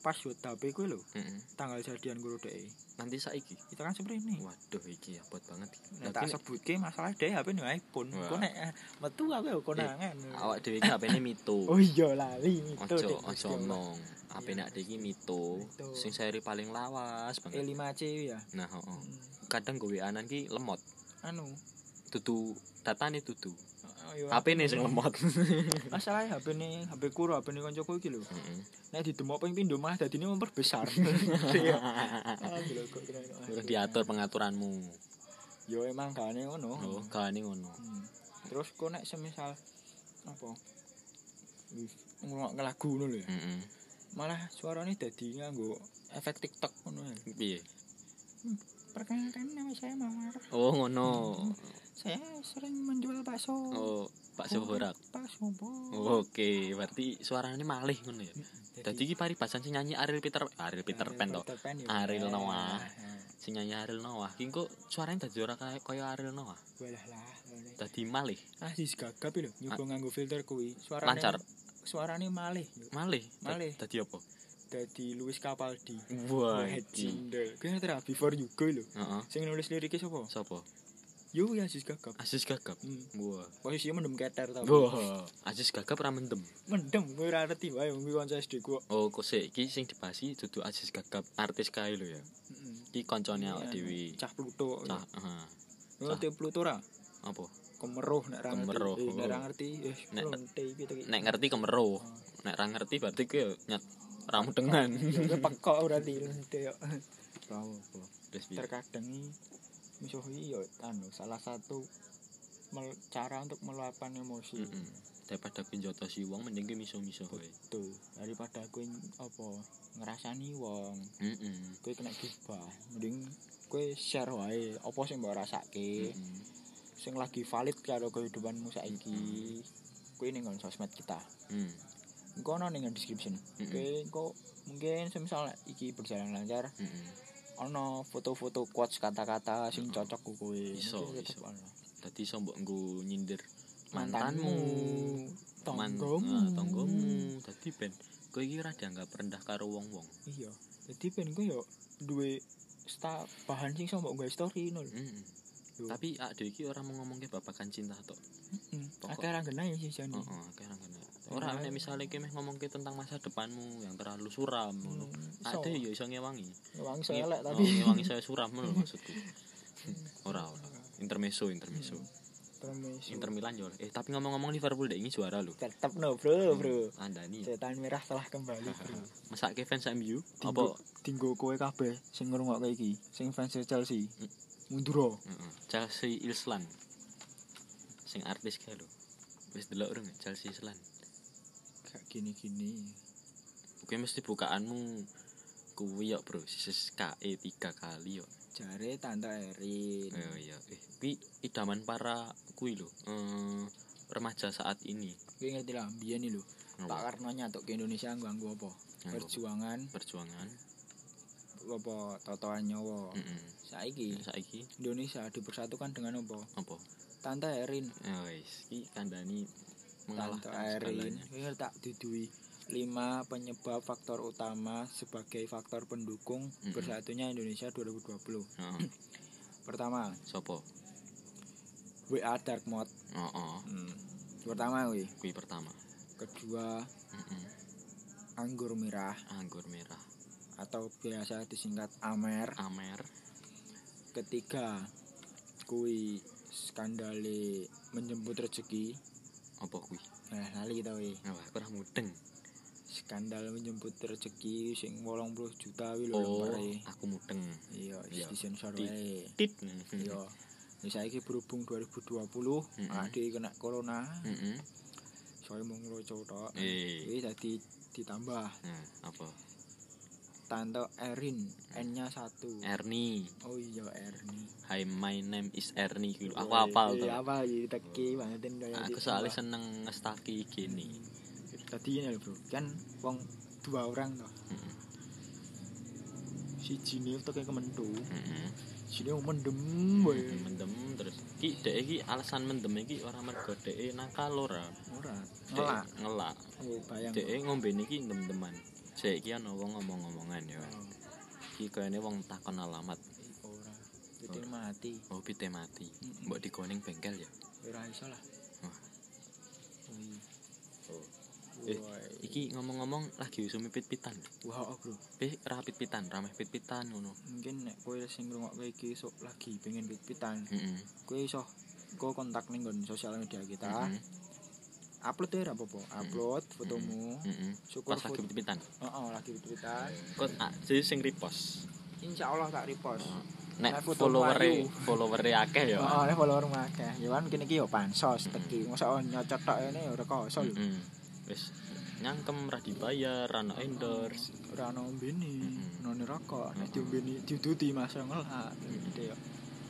[SPEAKER 2] pas yo tapi kuwi lho
[SPEAKER 1] Mm-mm.
[SPEAKER 2] tanggal jadian guru dhek
[SPEAKER 1] nanti saiki
[SPEAKER 2] kita kan seprene
[SPEAKER 1] waduh iki abot banget iki
[SPEAKER 2] nek tak
[SPEAKER 1] Tapi nek
[SPEAKER 2] sebutke masalah dhek HP ne iPhone
[SPEAKER 1] Wah.
[SPEAKER 2] kok nek eh, metu aku yo konangan
[SPEAKER 1] awak dhewe iki HP-ne mito
[SPEAKER 2] kan? oh iya lali itu
[SPEAKER 1] ojo
[SPEAKER 2] Dek, Gusti
[SPEAKER 1] ojo
[SPEAKER 2] Allah.
[SPEAKER 1] omong HP nek dhewe iki mito
[SPEAKER 2] Mito. Eh,
[SPEAKER 1] sing seri paling lawas banget
[SPEAKER 2] E5C ya
[SPEAKER 1] nah heeh
[SPEAKER 2] Mm,
[SPEAKER 1] kadang gue anan ki lemot
[SPEAKER 2] anu
[SPEAKER 1] dudu datane dudu
[SPEAKER 2] oh, iya.
[SPEAKER 1] HP nih sing lemot
[SPEAKER 2] masalahnya HP ya, ini HP ku HP ini koncoku iki lho
[SPEAKER 1] Heeh.
[SPEAKER 2] nek didemok ping pindho malah dadine memperbesar Iya. Ah, gila, kok kira-
[SPEAKER 1] Terus diatur pengaturanmu
[SPEAKER 2] yo emang gane ngono
[SPEAKER 1] oh kalane ngono
[SPEAKER 2] Hmm. terus kok nek semisal apa wih, ngrungokne lagu ngono lho ya
[SPEAKER 1] Heeh.
[SPEAKER 2] malah suarane dadi nganggo efek TikTok ngono ya
[SPEAKER 1] piye
[SPEAKER 2] perkenalkan nama saya Mawar
[SPEAKER 1] oh ngono
[SPEAKER 2] saya sering menjual bakso
[SPEAKER 1] oh Pak Soborak
[SPEAKER 2] bakso bo
[SPEAKER 1] oke berarti suarane malih ngono ya dadi iki paribasan sing nyanyi Ariel Peter Ariel Peter Pan to
[SPEAKER 2] Peter Pan ya.
[SPEAKER 1] Ariel Noah.
[SPEAKER 2] Ah,
[SPEAKER 1] sing nyanyi Ariel Noah ki kok suarane dadi ora kaya kaya Ariel Noah
[SPEAKER 2] Walah lah. walah.
[SPEAKER 1] dadi malih
[SPEAKER 2] Ah si gagap lho nyoba nganggo filter kuwi. Suarane
[SPEAKER 1] Ah. lancar
[SPEAKER 2] Suarane malih.
[SPEAKER 1] malih
[SPEAKER 2] Malih.
[SPEAKER 1] dadi apa
[SPEAKER 2] Dadi Luis Capaldi.
[SPEAKER 1] wah
[SPEAKER 2] Wah,
[SPEAKER 1] iki
[SPEAKER 2] jindel. Kuwi ora before you go lho.
[SPEAKER 1] heeh
[SPEAKER 2] Sing nulis liriknya sapa?
[SPEAKER 1] sapa
[SPEAKER 2] Yo ya si gagap.
[SPEAKER 1] Aziz Gagap
[SPEAKER 2] Hmm.
[SPEAKER 1] wah
[SPEAKER 2] Posisinya mendem keter tau.
[SPEAKER 1] Wah, Aziz Gagap ra mendem.
[SPEAKER 2] Mendem kuwi ora ngerti wae kuwi kanca SD ku.
[SPEAKER 1] Oh, kok sik iki sing dibahasi dudu Aziz Gagap, artis kae lho ya.
[SPEAKER 2] Heeh.
[SPEAKER 1] Iki koncone awak dhewe.
[SPEAKER 2] Hmm. Iya, Cah Pluto.
[SPEAKER 1] Cah, heeh.
[SPEAKER 2] Ngerti Pluto ora?
[SPEAKER 1] Apa?
[SPEAKER 2] Kemeruh nek ra
[SPEAKER 1] Kemeruh. oh.
[SPEAKER 2] ngerti. Eh, Nek ra ngerti, eh
[SPEAKER 1] Nek-
[SPEAKER 2] lonte iki to iki.
[SPEAKER 1] Nek ngerti kemeruh. Nek ra ngerti berarti kuwi ya nyet ramu dengan.
[SPEAKER 2] Yo, kuwi pekok ora di lonte yo. Tau apa.
[SPEAKER 1] Terus piye?
[SPEAKER 2] terkadang misuhi yo anu salah satu mel- cara untuk meluapkan emosi
[SPEAKER 1] Mm-mm. daripada aku njotosi wong mending ki miso-miso wae
[SPEAKER 2] betul daripada aku ng- apa ngerasani wong
[SPEAKER 1] heeh
[SPEAKER 2] kowe kena gibah mending kowe share wae apa sing mbok rasake
[SPEAKER 1] Mm.
[SPEAKER 2] sing lagi valid karo kehidupanmu saiki kowe ning nggon sosmed kita engko ono ning nggon description
[SPEAKER 1] Mm-mm.
[SPEAKER 2] kowe engko mungkin semisal nek iki berjalan lancar ono foto-foto quotes kata-kata sing
[SPEAKER 1] Mm-mm.
[SPEAKER 2] cocok ku kowe
[SPEAKER 1] Iso,
[SPEAKER 2] Mungkin tetep
[SPEAKER 1] iso.
[SPEAKER 2] ono.
[SPEAKER 1] dadi iso mbok nggo nyindir
[SPEAKER 2] mantanmu
[SPEAKER 1] mantanmu Man-
[SPEAKER 2] tonggomu
[SPEAKER 1] ah, tonggomu dadi ben kowe iki ora dianggap rendah karo wong-wong
[SPEAKER 2] iya jadi ben gue yo duwe sta bahan sing sombong gue story nol
[SPEAKER 1] Mm-mm.
[SPEAKER 2] Yo.
[SPEAKER 1] tapi ah dhewe iki ora mau ngomongke babagan cinta tok
[SPEAKER 2] hmm.
[SPEAKER 1] Mm, pokok- Oh,
[SPEAKER 2] akhirnya genai sih jani
[SPEAKER 1] heeh akeh nang kene ora nek misale ki meh ngomongke tentang masa depanmu yang terlalu
[SPEAKER 2] Hmm,
[SPEAKER 1] suram ngono
[SPEAKER 2] so,
[SPEAKER 1] ade ya iso ngewangi
[SPEAKER 2] ngewangi saya elek tapi
[SPEAKER 1] Oh, ngewangi saya suram lho maksudku ora ora intermeso intermeso
[SPEAKER 2] Permisi.
[SPEAKER 1] Inter Milan yo eh tapi ngomong-ngomong Liverpool deh ini juara lho
[SPEAKER 2] tetep no bro bro
[SPEAKER 1] anda nih
[SPEAKER 2] setan merah telah kembali bro
[SPEAKER 1] masak ke fans MU
[SPEAKER 2] Tinggu-
[SPEAKER 1] apa
[SPEAKER 2] tinggu kowe kabeh sing ngrungokke iki sing fans e Chelsea
[SPEAKER 1] Hmm.
[SPEAKER 2] mundur
[SPEAKER 1] Heeh. Chelsea Island sing artis kae lho wis delok urung ya, Chelsea Island
[SPEAKER 2] kayak gini-gini
[SPEAKER 1] Oke mesti bukaanmu kuwi yo bro sisis KE E tiga kali yo
[SPEAKER 2] jare tante Erin
[SPEAKER 1] Iya iya eh kuwi idaman para kuwi lho eh, remaja saat ini
[SPEAKER 2] gue ngerti lah biyen iki lho
[SPEAKER 1] iya.
[SPEAKER 2] Pak
[SPEAKER 1] Apa?
[SPEAKER 2] Karno nyatuk ke Indonesia nganggo apa
[SPEAKER 1] Nganggo.
[SPEAKER 2] perjuangan
[SPEAKER 1] perjuangan
[SPEAKER 2] apa totoan nyawa
[SPEAKER 1] Heeh.
[SPEAKER 2] saiki
[SPEAKER 1] saiki
[SPEAKER 2] Indonesia dipersatukan dengan apa
[SPEAKER 1] apa
[SPEAKER 2] tante Erin
[SPEAKER 1] ya wis iki kandhani
[SPEAKER 2] tante
[SPEAKER 1] mengalahkan
[SPEAKER 2] Erin
[SPEAKER 1] kan segalanya
[SPEAKER 2] ini tak didui lima penyebab faktor utama sebagai faktor pendukung
[SPEAKER 1] Mm-mm.
[SPEAKER 2] bersatunya Indonesia 2020
[SPEAKER 1] heeh
[SPEAKER 2] pertama
[SPEAKER 1] sapa
[SPEAKER 2] WA dark mode
[SPEAKER 1] heeh
[SPEAKER 2] Hmm. pertama kuwi
[SPEAKER 1] kuwi pertama
[SPEAKER 2] kedua
[SPEAKER 1] Heeh.
[SPEAKER 2] anggur merah
[SPEAKER 1] anggur merah
[SPEAKER 2] atau biasa disingkat amer
[SPEAKER 1] amer
[SPEAKER 2] ketiga kui skandale menjemput rezeki
[SPEAKER 1] apa kuwi
[SPEAKER 2] nah lali tau kuwi.
[SPEAKER 1] Nah, aku ora mudeng.
[SPEAKER 2] skandal menjemput rezeki sing 80 juta kuwi lho
[SPEAKER 1] Oh,
[SPEAKER 2] lompare.
[SPEAKER 1] aku mudeng.
[SPEAKER 2] iya
[SPEAKER 1] Iya.
[SPEAKER 2] wis disensor
[SPEAKER 1] Di- Hmm.
[SPEAKER 2] wae
[SPEAKER 1] Tit.
[SPEAKER 2] iya Ini saiki berhubung 2020
[SPEAKER 1] Mm-mm.
[SPEAKER 2] ade kena corona
[SPEAKER 1] Heeh.
[SPEAKER 2] soalnya mau ngeloco tok
[SPEAKER 1] Hmm. Eh.
[SPEAKER 2] Kuwi dadi ditambah
[SPEAKER 1] Nah, apa?
[SPEAKER 2] tante Erin N-nya satu
[SPEAKER 1] Ernie.
[SPEAKER 2] oh iya Erni
[SPEAKER 1] Hi, my name is Ernie. Gitu. Aku apal
[SPEAKER 2] iya
[SPEAKER 1] tuh.
[SPEAKER 2] apa iki teki bangetin kaya
[SPEAKER 1] Aku soalnya seneng ngestaki gini.
[SPEAKER 2] tadi ini lho bro kan wong dua orang toh
[SPEAKER 1] Heeh.
[SPEAKER 2] si Jini itu kayak kementu
[SPEAKER 1] Heeh.
[SPEAKER 2] Jini yang mendem wae
[SPEAKER 1] Mendem terus. Ki dek iki alasan mendem iki ora mergo e deke nakal ora.
[SPEAKER 2] ora
[SPEAKER 1] Dek
[SPEAKER 2] ngelak
[SPEAKER 1] ah. ngelak.
[SPEAKER 2] Ayo, bayang
[SPEAKER 1] Deke ngombe niki ndem-ndeman. Sik iki ana wong ngomong-ngomongan ya.
[SPEAKER 2] Oh,
[SPEAKER 1] Iki kayane wong takon alamat.
[SPEAKER 2] ora jadi mati
[SPEAKER 1] Oh, pite mati.
[SPEAKER 2] Mm-mm.
[SPEAKER 1] Mbok digoning bengkel ya.
[SPEAKER 2] ora iso lah
[SPEAKER 1] Wah.
[SPEAKER 2] Wih.
[SPEAKER 1] Oh. Eh,
[SPEAKER 2] Woi.
[SPEAKER 1] Iki ngomong-ngomong lagi usum pit-pitan.
[SPEAKER 2] wah oh, bro
[SPEAKER 1] Pi ra pit-pitan, rameh pit-pitan ngono.
[SPEAKER 2] mungkin nek kowe sing ngrungokke iki sok lagi pengen pit-pitan
[SPEAKER 1] Heeh.
[SPEAKER 2] kowe iso kowe kontak ning nggon sosial media kita
[SPEAKER 1] Heeh.
[SPEAKER 2] upload ya ora apa-apa upload fotomu
[SPEAKER 1] Heeh. Hmm.
[SPEAKER 2] syukur
[SPEAKER 1] Pas lagi
[SPEAKER 2] foto
[SPEAKER 1] pit-pitan.
[SPEAKER 2] oh, oh, lagi pit-pitan
[SPEAKER 1] Kok ah, jadi sing repost.
[SPEAKER 2] insya Allah tak repost
[SPEAKER 1] Nek
[SPEAKER 2] Nek foto
[SPEAKER 1] followere,
[SPEAKER 2] Mario.
[SPEAKER 1] followere akeh ya.
[SPEAKER 2] Oh, oleh follower akeh. Ya kan kene iki yo pansos
[SPEAKER 1] Mm-mm.
[SPEAKER 2] teki. Mosok nyocot tok ngene yo ora koso lho.
[SPEAKER 1] Heeh. Wis nyangkem ra dibayar, ra no Hmm. endorse. Hmm.
[SPEAKER 2] Ora ono mbene,
[SPEAKER 1] Mm-mm.
[SPEAKER 2] none rokok, nek
[SPEAKER 1] Mm-mm.
[SPEAKER 2] diombeni diuduti Mas yo ngelak.
[SPEAKER 1] Mm-mm.
[SPEAKER 2] Gede yo.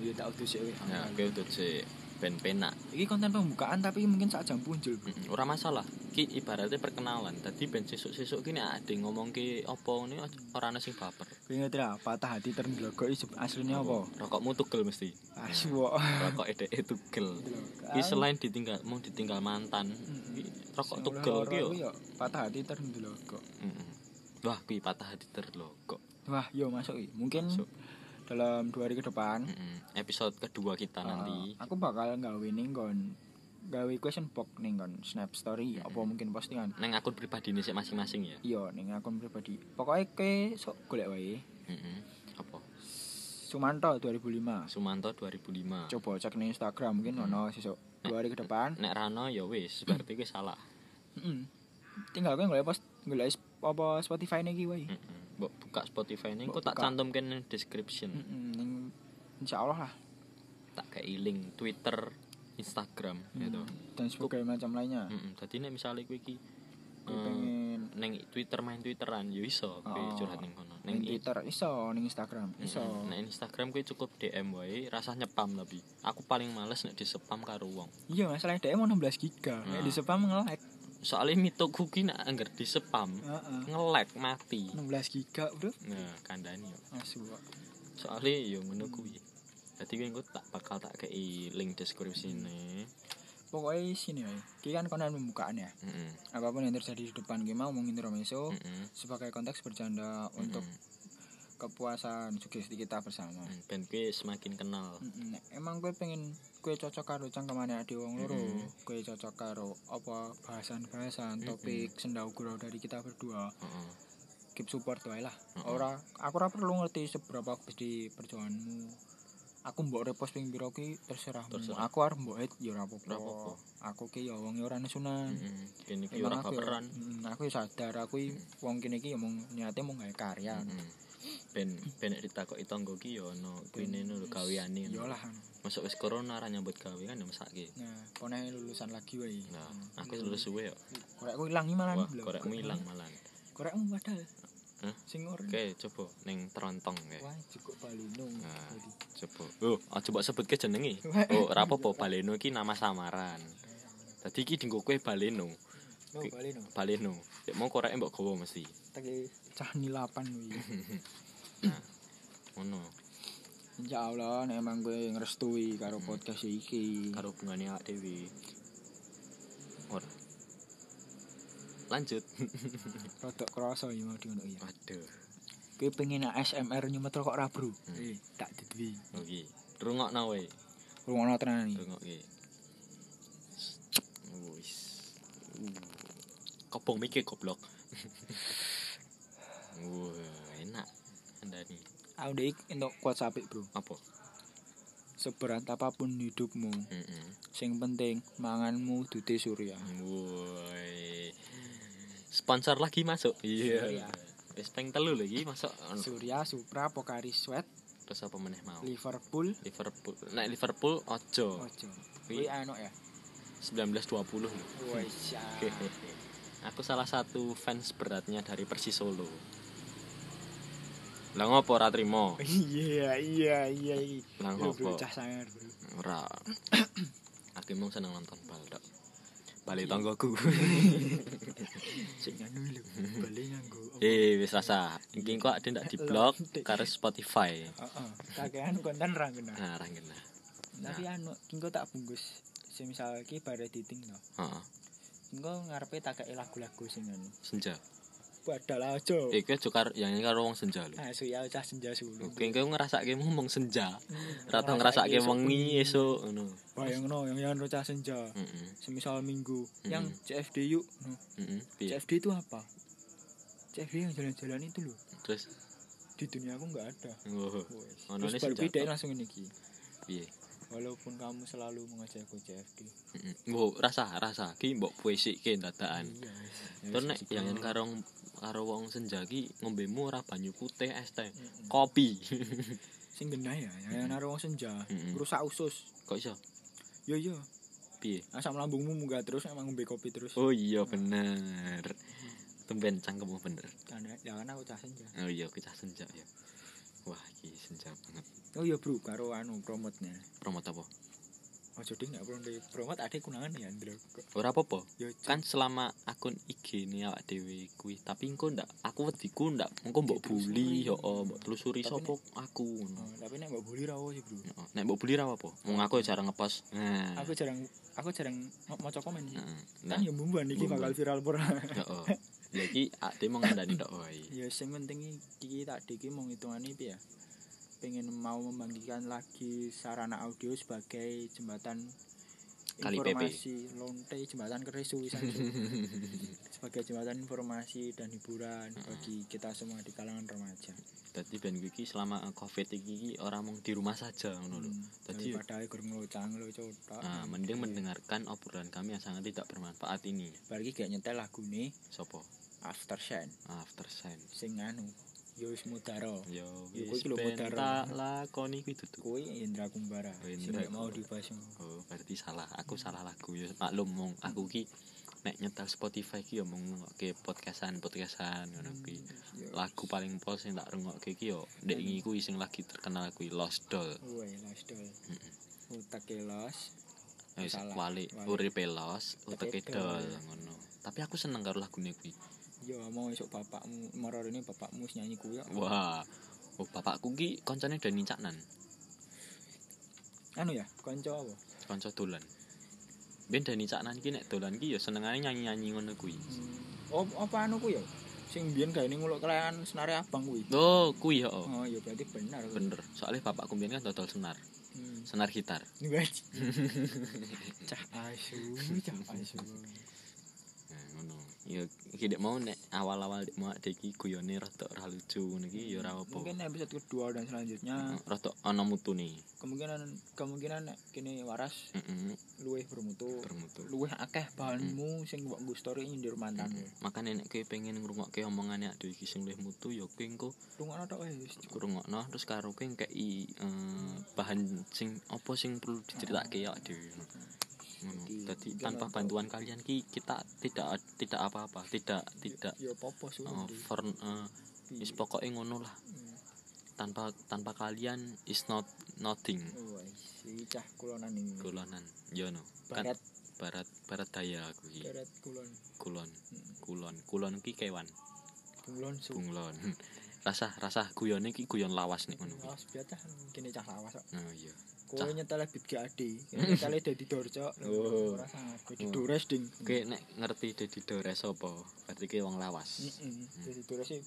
[SPEAKER 2] Yo tak udus sik weh.
[SPEAKER 1] Hmm. Ya, oke untuk sik ben penak.
[SPEAKER 2] Iki konten pembukaan tapi mungkin sak jam punjul.
[SPEAKER 1] Mm-mm. Ora masalah. Ki ibaratnya perkenalan. Tadi ben sesuk-sesuk ki nek ade ngomongke apa ngene ora ana sing baper.
[SPEAKER 2] Kowe ngerti lah, patah hati terndlogoki asline apa?
[SPEAKER 1] Rokokmu tugel mesti.
[SPEAKER 2] Asu kok.
[SPEAKER 1] Rokok dhek tugel. Ki selain ditinggal mau ditinggal mantan,
[SPEAKER 2] Mm-mm.
[SPEAKER 1] ki rokok
[SPEAKER 2] Sing
[SPEAKER 1] tugel
[SPEAKER 2] oleh-oleh
[SPEAKER 1] ki yo.
[SPEAKER 2] kuwi Hmm. yo patah hati terndlogok.
[SPEAKER 1] Mm-mm. Wah, kuwi patah hati terlogok.
[SPEAKER 2] Wah, yo masuk iki. Mungkin
[SPEAKER 1] Masuk.
[SPEAKER 2] dalam dua hari ke depan
[SPEAKER 1] Mm-mm. Episode kedua kita Ya, nanti.
[SPEAKER 2] Uh, aku bakal gawe ning kon gawe question box ning kon snap story apa mungkin postingan
[SPEAKER 1] Neng akun pribadi ini sik masing-masing ya.
[SPEAKER 2] iya ning akun pribadi pokoknya ke sok golek wae
[SPEAKER 1] Mm-mm. Apa?
[SPEAKER 2] Sumanto 2005
[SPEAKER 1] Sumanto 2005.
[SPEAKER 2] coba cek ning Instagram mungkin ono sesuk dua hari ke depan
[SPEAKER 1] Nek Rano ya wis, berarti kuwi salah.
[SPEAKER 2] Mm-mm. tinggal kowe golek post golek s- apa Spotify niki wae
[SPEAKER 1] Mm-mm. Mbok buka Spotify ini, kok
[SPEAKER 2] Mbok
[SPEAKER 1] tak
[SPEAKER 2] buka.
[SPEAKER 1] Hmm.
[SPEAKER 2] Mm.
[SPEAKER 1] cantumkan ning description.
[SPEAKER 2] Mm-mm, ning insya Allah lah
[SPEAKER 1] tak kayak link Twitter Instagram
[SPEAKER 2] Mm.
[SPEAKER 1] gitu
[SPEAKER 2] dan sebagainya macam lainnya
[SPEAKER 1] Mm-mm. Jadi nek misale kowe iki
[SPEAKER 2] Aku
[SPEAKER 1] eh,
[SPEAKER 2] pengen
[SPEAKER 1] neng Twitter main Twitteran yo iso kowe
[SPEAKER 2] Oh.
[SPEAKER 1] curhat ning kono.
[SPEAKER 2] ning
[SPEAKER 1] Ning Hmm, i-
[SPEAKER 2] Twitter iso ning Instagram iso
[SPEAKER 1] Mm-mm. Nek Instagram kowe cukup DM wae, rasah nyepam tapi aku paling males nek di spam karo wong.
[SPEAKER 2] iya masalahnya dia mau 16 giga
[SPEAKER 1] Nah.
[SPEAKER 2] di spam nge-lag
[SPEAKER 1] Soale mitoku ki nek anggar di spam
[SPEAKER 2] Heeh.
[SPEAKER 1] nge-lag mati.
[SPEAKER 2] 16 giga bro
[SPEAKER 1] Nah, kandhani yo.
[SPEAKER 2] asu Pak.
[SPEAKER 1] Soale yo ngono kuwi. Dadi kowe engko tak bakal tak kei link deskripsi ne.
[SPEAKER 2] pokoknya sini wae iki kan konon pembukaan ya
[SPEAKER 1] Heeh.
[SPEAKER 2] apapun yang terjadi di depan kita mau mungkin intermezzo
[SPEAKER 1] Heeh.
[SPEAKER 2] sebagai konteks bercanda untuk
[SPEAKER 1] Hmm.
[SPEAKER 2] kepuasan sugesti kita bersama
[SPEAKER 1] ben kowe semakin kenal.
[SPEAKER 2] Mm-mm. emang gue pengen gue cocok karo cangkemane ade wong loro
[SPEAKER 1] Mm-mm.
[SPEAKER 2] gue cocok karo apa bahasan-bahasan
[SPEAKER 1] Mm-mm.
[SPEAKER 2] topik senda gurau dari kita berdua
[SPEAKER 1] Heeh.
[SPEAKER 2] keep support wae lah
[SPEAKER 1] Mm-mm.
[SPEAKER 2] ora aku ora perlu ngerti seberapa di perjuanganmu aku mbok repost ping piro ki terserah
[SPEAKER 1] Terserah.
[SPEAKER 2] aku arep mbok hit ya
[SPEAKER 1] Ora
[SPEAKER 2] ora
[SPEAKER 1] apa-apa.
[SPEAKER 2] apa-apa aku ki ya wong ya ora nesunan
[SPEAKER 1] Heeh. Kene iki
[SPEAKER 2] Emang
[SPEAKER 1] ora
[SPEAKER 2] aku ya-
[SPEAKER 1] baperan.
[SPEAKER 2] Mm, aku ya sadar aku i- wong kene iki ya mung niate mung gawe karya
[SPEAKER 1] Mm. Ben ben nek ditakoki tanggo ki yo ono kuine no lho gaweane.
[SPEAKER 2] yo lah
[SPEAKER 1] Masuk wis corona ra nyambut gawe kan ya mesake.
[SPEAKER 2] nah poneh lulusan lagi wae
[SPEAKER 1] Nah,
[SPEAKER 2] Mm.
[SPEAKER 1] aku lulus suwe yo.
[SPEAKER 2] korekku ilang iki malah
[SPEAKER 1] Wah,
[SPEAKER 2] belum.
[SPEAKER 1] korekmu ilang malan.
[SPEAKER 2] korekmu padahal
[SPEAKER 1] Hah?
[SPEAKER 2] sing ora
[SPEAKER 1] Oke, coba ning Trontong kae.
[SPEAKER 2] Mm. wah cukup balino
[SPEAKER 1] Nah. Coba. Oh, aja mbok sebutke jenenge.
[SPEAKER 2] Wah.
[SPEAKER 1] Oh, ora apa-apa Baleno iki nama samaran. Tadi iki dinggo kowe Baleno.
[SPEAKER 2] no
[SPEAKER 1] Oke.
[SPEAKER 2] balino
[SPEAKER 1] Baleno. Nek mau koreke mbok gowo mesti.
[SPEAKER 2] teki cah nilapan kuwi
[SPEAKER 1] Ngono.
[SPEAKER 2] Insya Allah nek emang gue ngerestui karo
[SPEAKER 1] Hmm.
[SPEAKER 2] podcast iki
[SPEAKER 1] Karo hubungane awak dhewe. Ora. Lanjut.
[SPEAKER 2] rodok kroso ya mau diono ya
[SPEAKER 1] Aduh.
[SPEAKER 2] gue pengen ASMR nyemetel kok ora bro
[SPEAKER 1] Hmm.
[SPEAKER 2] eh tak diduwi
[SPEAKER 1] Oke. Rungokno wae.
[SPEAKER 2] rumono tenan iki
[SPEAKER 1] Rungokke. Wis. Kobong mikir goblok. Wah, enak. Anda nih.
[SPEAKER 2] aku ndek entuk kuat sapik bro
[SPEAKER 1] Apa?
[SPEAKER 2] seberat apapun hidupmu
[SPEAKER 1] Heeh.
[SPEAKER 2] sing penting manganmu dute surya
[SPEAKER 1] Woi. Sponsor lagi masuk. Iya.
[SPEAKER 2] Surya.
[SPEAKER 1] Wis peng telu lagi masuk. Anu,
[SPEAKER 2] Surya Supra Pokari Sweat
[SPEAKER 1] Terus apa meneh mau?
[SPEAKER 2] Liverpool
[SPEAKER 1] Liverpool. Nek Liverpool ojo.
[SPEAKER 2] ojo
[SPEAKER 1] Kuwi
[SPEAKER 2] kuwi anu ya
[SPEAKER 1] 1920 lho.
[SPEAKER 2] Wes.
[SPEAKER 1] Hehehe. Aku salah satu fans beratnya dari Persis Solo. Lah ngopo ora trimo?
[SPEAKER 2] Iya, iya, iya.
[SPEAKER 1] Lah
[SPEAKER 2] Bro, bro,
[SPEAKER 1] ngopo?
[SPEAKER 2] cah sangar, Bro.
[SPEAKER 1] Ora. Aku emang seneng nonton bal tok. Bali tanggoku.
[SPEAKER 2] Sing anu lho, bali nganggo.
[SPEAKER 1] Eh wis rasa. Iki kok ada ndak diblok karo Spotify.
[SPEAKER 2] Heeh. Kakean konten anu ra kena.
[SPEAKER 1] Nah, ra ngene.
[SPEAKER 2] Tapi anu, kingko tak bungkus. Semisal iki bare diting to.
[SPEAKER 1] Heeh.
[SPEAKER 2] Kingko ngarepe tak kei lagu-lagu sing anu.
[SPEAKER 1] Senja.
[SPEAKER 2] Badal aja.
[SPEAKER 1] Eh kowe aja karo yang ini karo wong senja lho.
[SPEAKER 2] Ah, suya cah senja sulung.
[SPEAKER 1] Oke, kowe ngrasake mung senja. Ra tau ngrasake wengi esuk ngono.
[SPEAKER 2] Bayangno yang yang cah senja.
[SPEAKER 1] Heeh.
[SPEAKER 2] Semisal minggu
[SPEAKER 1] Mm.
[SPEAKER 2] yang CFD yuk. No.
[SPEAKER 1] Heeh. Piye?
[SPEAKER 2] CFD itu apa? CFD yang jalan-jalan itu loh.
[SPEAKER 1] Terus
[SPEAKER 2] Di dunia aku nggak ada.
[SPEAKER 1] ngono.
[SPEAKER 2] Wes.
[SPEAKER 1] Ono
[SPEAKER 2] Terus
[SPEAKER 1] ne
[SPEAKER 2] baru
[SPEAKER 1] senja.
[SPEAKER 2] dia
[SPEAKER 1] tok.
[SPEAKER 2] langsung ini ki.
[SPEAKER 1] Piye?
[SPEAKER 2] Walaupun kamu selalu mengajakku CFD.
[SPEAKER 1] Heeh. Mbok rasa rasa ki mbok puisikke dadakan.
[SPEAKER 2] Iya. wes.
[SPEAKER 1] Terus nek
[SPEAKER 2] Wes,
[SPEAKER 1] yang
[SPEAKER 2] wes.
[SPEAKER 1] karo karo wong senja ki ngombemu ora banyu putih es teh,
[SPEAKER 2] Mm-mm.
[SPEAKER 1] kopi.
[SPEAKER 2] sing genah ya, yang naro wong senja,
[SPEAKER 1] Mm-mm.
[SPEAKER 2] rusak usus.
[SPEAKER 1] Kok iso?
[SPEAKER 2] Yo yo,
[SPEAKER 1] Piye?
[SPEAKER 2] asam lambungmu munggah terus emang ngombe kopi terus.
[SPEAKER 1] Oh iya bener. Tumben cangkemmu bener.
[SPEAKER 2] Karena ya kan aku cah senja.
[SPEAKER 1] Oh iya kita senja ya. Wah, iki senja banget.
[SPEAKER 2] Oh iya bro, karo anu promotnya.
[SPEAKER 1] Promote apa?
[SPEAKER 2] Ojo ding nggak perlu di promot ada kunangan ya Andro.
[SPEAKER 1] Ora apa-apa.
[SPEAKER 2] Yo
[SPEAKER 1] Kan selama akun IG ini awak dhewe kuwi, tapi engko ndak aku wediku ndak engko mbok
[SPEAKER 2] Ditelusuri.
[SPEAKER 1] bully yo mbok telusuri
[SPEAKER 2] Tapi
[SPEAKER 1] sapa aku ngono.
[SPEAKER 2] Oh, tapi nek mbok bully rawo sih bro.
[SPEAKER 1] Heeh. Nek mbok bully ra apa? Wong aku ya jarang ngepost. Nah.
[SPEAKER 2] Aku jarang aku jarang mau maca komen sih.
[SPEAKER 1] Heeh. Nah,
[SPEAKER 2] Kan ya bumbuan iki
[SPEAKER 1] Bumbuan.
[SPEAKER 2] bakal viral pura.
[SPEAKER 1] heeh. Ya iki ade mengandani tok oh, iya. wae.
[SPEAKER 2] ya sing penting iki tak iki mau hitungane piye ya. Pengen mau membangkitkan lagi sarana audio sebagai jembatan
[SPEAKER 1] Kali PP.
[SPEAKER 2] informasi lonte jembatan keresu wisan su. sebagai jembatan informasi dan hiburan bagi kita semua di kalangan remaja.
[SPEAKER 1] Dadi ben kuwi iki selama covid iki ora mung di rumah saja ngono lho. Dadi
[SPEAKER 2] Hmm. Daripada gur nglocang nglocotok.
[SPEAKER 1] ah, mending mendengarkan obrolan kami yang sangat tidak bermanfaat ini.
[SPEAKER 2] Bar iki gak nyetel lagune
[SPEAKER 1] Sopo?
[SPEAKER 2] After Shine
[SPEAKER 1] After sign.
[SPEAKER 2] sing anu ya wis mudaro
[SPEAKER 1] Yo
[SPEAKER 2] Ya,
[SPEAKER 1] wis
[SPEAKER 2] kuwi lho,
[SPEAKER 1] ben
[SPEAKER 2] modern.
[SPEAKER 1] tak lakoni kuwi dudu.
[SPEAKER 2] kuwi Indra Kumbara
[SPEAKER 1] Oh, Indra
[SPEAKER 2] sing gak mau
[SPEAKER 1] Kumbara.
[SPEAKER 2] dibahas yang-
[SPEAKER 1] Oh, berarti salah. Aku salah lagu ya. Maklum mong aku ki nek nyetel Spotify ki yo mung ngrungokke podcastan-podcastan ngono kuwi.
[SPEAKER 2] ya
[SPEAKER 1] Lagu paling pol sing tak rungokke ki yo ndek iki kuwi sing lagi terkenal kuwi Lost Doll.
[SPEAKER 2] Woi, los dol.
[SPEAKER 1] Heeh.
[SPEAKER 2] Utake los.
[SPEAKER 1] Wis
[SPEAKER 2] Salah.
[SPEAKER 1] wali
[SPEAKER 2] Wali.
[SPEAKER 1] uripe los, uteke
[SPEAKER 2] Uteke
[SPEAKER 1] dol
[SPEAKER 2] dol.
[SPEAKER 1] ngono. Tapi aku seneng karo lagune kuwi.
[SPEAKER 2] Yo mau esok bapakmu moro ini bapakmu wis nyanyi kuwi. kok.
[SPEAKER 1] Wah. Oh, bapakku ki koncone Dani Caknan,
[SPEAKER 2] Anu ya, kanca apa?
[SPEAKER 1] kanca dolan. Ben Dani Caknan ki nek dolan ki yo senengane nyanyi-nyanyi ngono kuwi.
[SPEAKER 2] Oh, apa anu ku ya? Sing biyen gawe ning nguluk kelayan senare abang kuwi.
[SPEAKER 1] Oh, kuwi yo.
[SPEAKER 2] Oh, ya berarti benar. kuwi.
[SPEAKER 1] Bener. Soalnya bapakku mbiyen kan dodol senar,
[SPEAKER 2] Hmm.
[SPEAKER 1] senar gitar.
[SPEAKER 2] Ngaji. Cah asu, cah asu.
[SPEAKER 1] Nah, ngono. Ya iki dek mau nek awal-awal dek mau dek iki guyone rada ora lucu ngono iki ya ora apa.
[SPEAKER 2] Mungkin episode kedua dan
[SPEAKER 1] Eh,
[SPEAKER 2] selanjutnya
[SPEAKER 1] Rada ana mutune.
[SPEAKER 2] kemungkinan kemungkinan nek kene waras
[SPEAKER 1] Heeh,
[SPEAKER 2] luwih bermutu.
[SPEAKER 1] bermutu.
[SPEAKER 2] Luwih akeh bahanmu sing mbok nggo story nyindir mantanmu.
[SPEAKER 1] Mm-mm. Makane nek kowe pengen ngrungokke omongane ade iki sing luwih mutu ya kowe engko
[SPEAKER 2] Rungokno tok wis cukup.
[SPEAKER 1] ngrungokno terus karo kowe ngkei eh, bahan sing apa sing perlu diceritake ya dhewe. Ngono.
[SPEAKER 2] Jadi,
[SPEAKER 1] Dadi
[SPEAKER 2] mungkin
[SPEAKER 1] tanpa
[SPEAKER 2] untuk-
[SPEAKER 1] bantuan kalian ki kita tidak tidak apa-apa, tidak tidak
[SPEAKER 2] Ya popo suwe.
[SPEAKER 1] eh, fern eh, wis
[SPEAKER 2] Iya.
[SPEAKER 1] pokoke ngono lah. tanpa tanpa kalian is not nothing
[SPEAKER 2] Oh, si cah kulonan ini.
[SPEAKER 1] kulonan yono kan
[SPEAKER 2] Barat, Iya.
[SPEAKER 1] barat barat daya aku iki
[SPEAKER 2] barat kulon.
[SPEAKER 1] kulon
[SPEAKER 2] Hmm.
[SPEAKER 1] kulon kulon ki kewan
[SPEAKER 2] Kulon su.
[SPEAKER 1] bunglon rasah rasah guyone ki guyon lawas nek ngono kuwi.
[SPEAKER 2] Lawas biasa kene cah lawas kok.
[SPEAKER 1] oh iya
[SPEAKER 2] Kowe
[SPEAKER 1] Cah.
[SPEAKER 2] nyetel beat GAD, kene nyetele dadi dorcok.
[SPEAKER 1] Oh.
[SPEAKER 2] Ora sangat dadi dores ding.
[SPEAKER 1] oke nek ngerti Dedi Dores apa berarti ki wong lawas
[SPEAKER 2] Heeh. Dadi dores e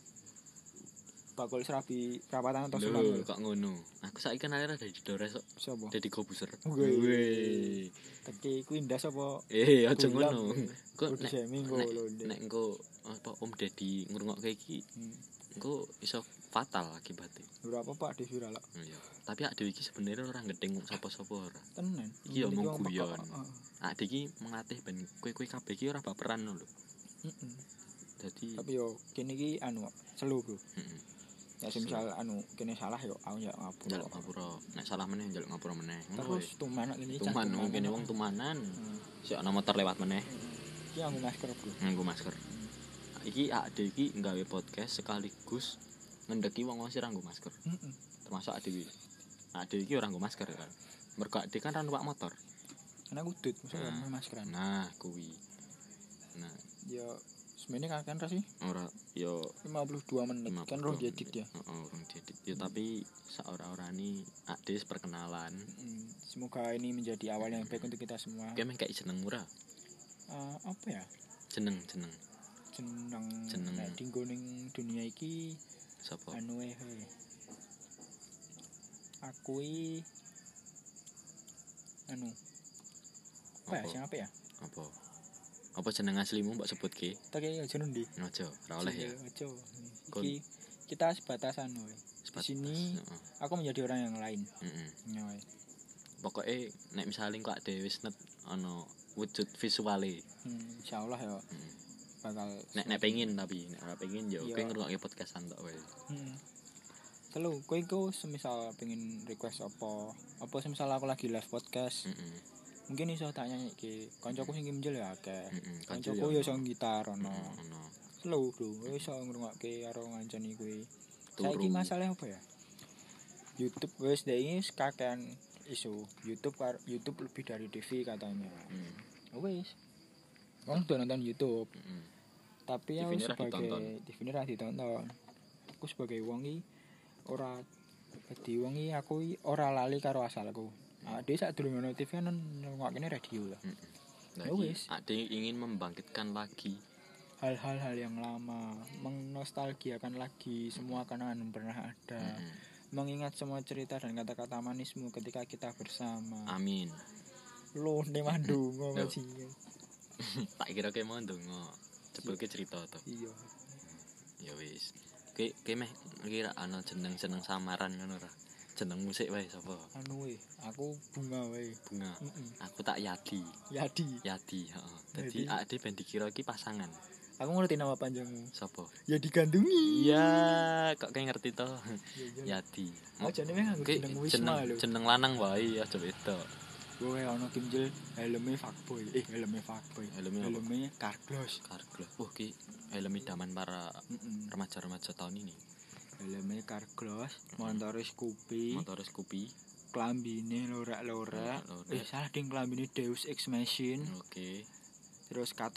[SPEAKER 2] bakul serabi perapatan atau sulam.
[SPEAKER 1] lho kok ngono aku saiki kan arep Dedi Dores kok
[SPEAKER 2] Sopo?
[SPEAKER 1] Dedi Kobuser
[SPEAKER 2] Wih.
[SPEAKER 1] Wih.
[SPEAKER 2] Teki kuwi ndas apa?
[SPEAKER 1] eh aja
[SPEAKER 2] Gulam.
[SPEAKER 1] ngono kok
[SPEAKER 2] Body
[SPEAKER 1] nek
[SPEAKER 2] shaming kok
[SPEAKER 1] nek
[SPEAKER 2] lho, Dek.
[SPEAKER 1] nek engko apa Om Dedi ngrungokke iki
[SPEAKER 2] Hmm.
[SPEAKER 1] engko iso fatal akibatnya
[SPEAKER 2] Ora apa Pak di viral kok.
[SPEAKER 1] Oh, Iya. Tapi Ade iki sebenarnya orang gedeng sapa-sapa ora.
[SPEAKER 2] Tenan.
[SPEAKER 1] Iki ya
[SPEAKER 2] Ini
[SPEAKER 1] mung
[SPEAKER 2] wong pekok,
[SPEAKER 1] guyon.
[SPEAKER 2] kok. Heeh.
[SPEAKER 1] Ade iki mengatih ben kowe-kowe kabeh iki ora baperan lho.
[SPEAKER 2] Heeh.
[SPEAKER 1] Dadi
[SPEAKER 2] Tapi yo kene iki anu selu, Bro.
[SPEAKER 1] heeh.
[SPEAKER 2] Ya semisal anu kene salah yo aku ya ngapura.
[SPEAKER 1] Njaluk ngapura. Nek salah meneh njaluk ngapura meneh. Ngono
[SPEAKER 2] Terus
[SPEAKER 1] weh.
[SPEAKER 2] tumanak ini
[SPEAKER 1] Tuman wong kene wong tumanan. Si ana motor lewat meneh
[SPEAKER 2] Iki aku Hmm. Iya, masker, Bro.
[SPEAKER 1] nganggo masker. Iki Ade iki nggawe podcast sekaligus ngendeki wong-wong sing ora nganggo masker.
[SPEAKER 2] Heeh.
[SPEAKER 1] Termasuk Ade iki. Nah, Ade iki ora nganggo masker kan. Mergo Ade kan ora numpak motor.
[SPEAKER 2] Karena aku dut, masa
[SPEAKER 1] Nah.
[SPEAKER 2] gak mau maskeran.
[SPEAKER 1] Nah, kuwi. Nah,
[SPEAKER 2] Ya semene kakek ra sih?
[SPEAKER 1] ora yo
[SPEAKER 2] 52 menit kan roh jedik dia.
[SPEAKER 1] Heeh, roh jedik. Ya tapi saora-orani adis perkenalan.
[SPEAKER 2] Mm, Semoga ini menjadi awal yang baik untuk kita semua.
[SPEAKER 1] Kayak meh kayak jeneng murah.
[SPEAKER 2] Eh, apa ya?
[SPEAKER 1] Jeneng jeneng
[SPEAKER 2] Jeneng
[SPEAKER 1] Jeneng.
[SPEAKER 2] nek dinggo ning dunia iki
[SPEAKER 1] sapa?
[SPEAKER 2] anu eh he. Aku i anu apa ya?
[SPEAKER 1] Apa?
[SPEAKER 2] Sing apa ya?
[SPEAKER 1] Apa? Apa jeneng aslimu mbok sebutke?
[SPEAKER 2] Tak kira aja nundi.
[SPEAKER 1] Ojo, ora oleh ya.
[SPEAKER 2] Aja.
[SPEAKER 1] Kon-
[SPEAKER 2] Iki kita sebatasan woy.
[SPEAKER 1] Sebatas.
[SPEAKER 2] sini-
[SPEAKER 1] Heeh.
[SPEAKER 2] Aku menjadi orang yang lain.
[SPEAKER 1] Heeh.
[SPEAKER 2] Ya, woy.
[SPEAKER 1] Pokoke nek misale kok ade wis net ana wujud visuale.
[SPEAKER 2] Hmm, insya Allah ya
[SPEAKER 1] Heeh.
[SPEAKER 2] bakal
[SPEAKER 1] Nek nek pengin tapi nek ora pengin yo
[SPEAKER 2] Iya.
[SPEAKER 1] kowe ngrungokke podcastan tok wae.
[SPEAKER 2] Hmm. Telu, kowe iku semisal pengen request apa? Apa semisal aku lagi live podcast,
[SPEAKER 1] Heeh.
[SPEAKER 2] mungkin iso tak nyanyike. Kancaku sing kimjel ya akeh.
[SPEAKER 1] Heeh.
[SPEAKER 2] Kancaku yo sing gitar ono.
[SPEAKER 1] ono.
[SPEAKER 2] Telu, Bro. Kowe iso ngrungokke karo ngancani kowe.
[SPEAKER 1] Turu.
[SPEAKER 2] Saiki masalah apa ya? YouTube wis dek ini wis kakean isu. YouTube kar- YouTube lebih dari TV katanya.
[SPEAKER 1] Heeh.
[SPEAKER 2] Wis. Wong udah nonton YouTube.
[SPEAKER 1] Heeh.
[SPEAKER 2] tapi aku
[SPEAKER 1] TV-nya ora
[SPEAKER 2] sebagai
[SPEAKER 1] ditonton.
[SPEAKER 2] TV-nya ora ditonton aku sebagai wong iki ora dadi wong iki aku iki ora lali karo asalku ah dhewe sak durung ono TV kan ngrungokne radio lah
[SPEAKER 1] Heeh.
[SPEAKER 2] Ya
[SPEAKER 1] Lagi,
[SPEAKER 2] wis.
[SPEAKER 1] Ade ingin membangkitkan lagi
[SPEAKER 2] hal-hal hal yang lama mengnostalgiakan lagi semua kenangan yang pernah ada
[SPEAKER 1] Mm-mm.
[SPEAKER 2] mengingat semua cerita dan kata-kata manismu ketika kita bersama
[SPEAKER 1] Amin.
[SPEAKER 2] lo ne mandungo
[SPEAKER 1] Yo.
[SPEAKER 2] masih
[SPEAKER 1] Tak kira kayak mau ndonga. Jebul ke cerita to.
[SPEAKER 2] iya
[SPEAKER 1] Ya wis. Ki ki meh kira ana jeneng-jeneng samaran ngono ora. Jeneng musik wae sapa?
[SPEAKER 2] anu we aku bunga wae
[SPEAKER 1] Bunga.
[SPEAKER 2] Mm-mm. Ya,
[SPEAKER 1] Aku tak Yadi.
[SPEAKER 2] Yadi
[SPEAKER 1] Yadi, heeh. Dadi
[SPEAKER 2] Jadi-
[SPEAKER 1] ade ben dikira iki pasangan.
[SPEAKER 2] aku ngerti nama panjangmu
[SPEAKER 1] Sopo?
[SPEAKER 2] ya digandungi
[SPEAKER 1] Iya, kok kayak ngerti toh.
[SPEAKER 2] ya
[SPEAKER 1] Yati.
[SPEAKER 2] oh jadi memang
[SPEAKER 1] Oke,
[SPEAKER 2] jeneng Wisma
[SPEAKER 1] jeneng
[SPEAKER 2] lho
[SPEAKER 1] jeneng lanang wae ya coba itu.
[SPEAKER 2] gue ono kimjil helmnya fuckboy eh helmnya fuckboy
[SPEAKER 1] Helmnya apa?
[SPEAKER 2] helmnya carglass
[SPEAKER 1] Karglo. Wah, ki helm idaman para
[SPEAKER 2] Mm-mm.
[SPEAKER 1] remaja-remaja tahun ini.
[SPEAKER 2] helmnya carglass motornya Scoopy
[SPEAKER 1] Motor Scoopy.
[SPEAKER 2] klambine lorak-lorak
[SPEAKER 1] Lorak-lorak. Hmm.
[SPEAKER 2] eh salah ding klambine Deus Ex Machine
[SPEAKER 1] Oke.
[SPEAKER 2] terus kat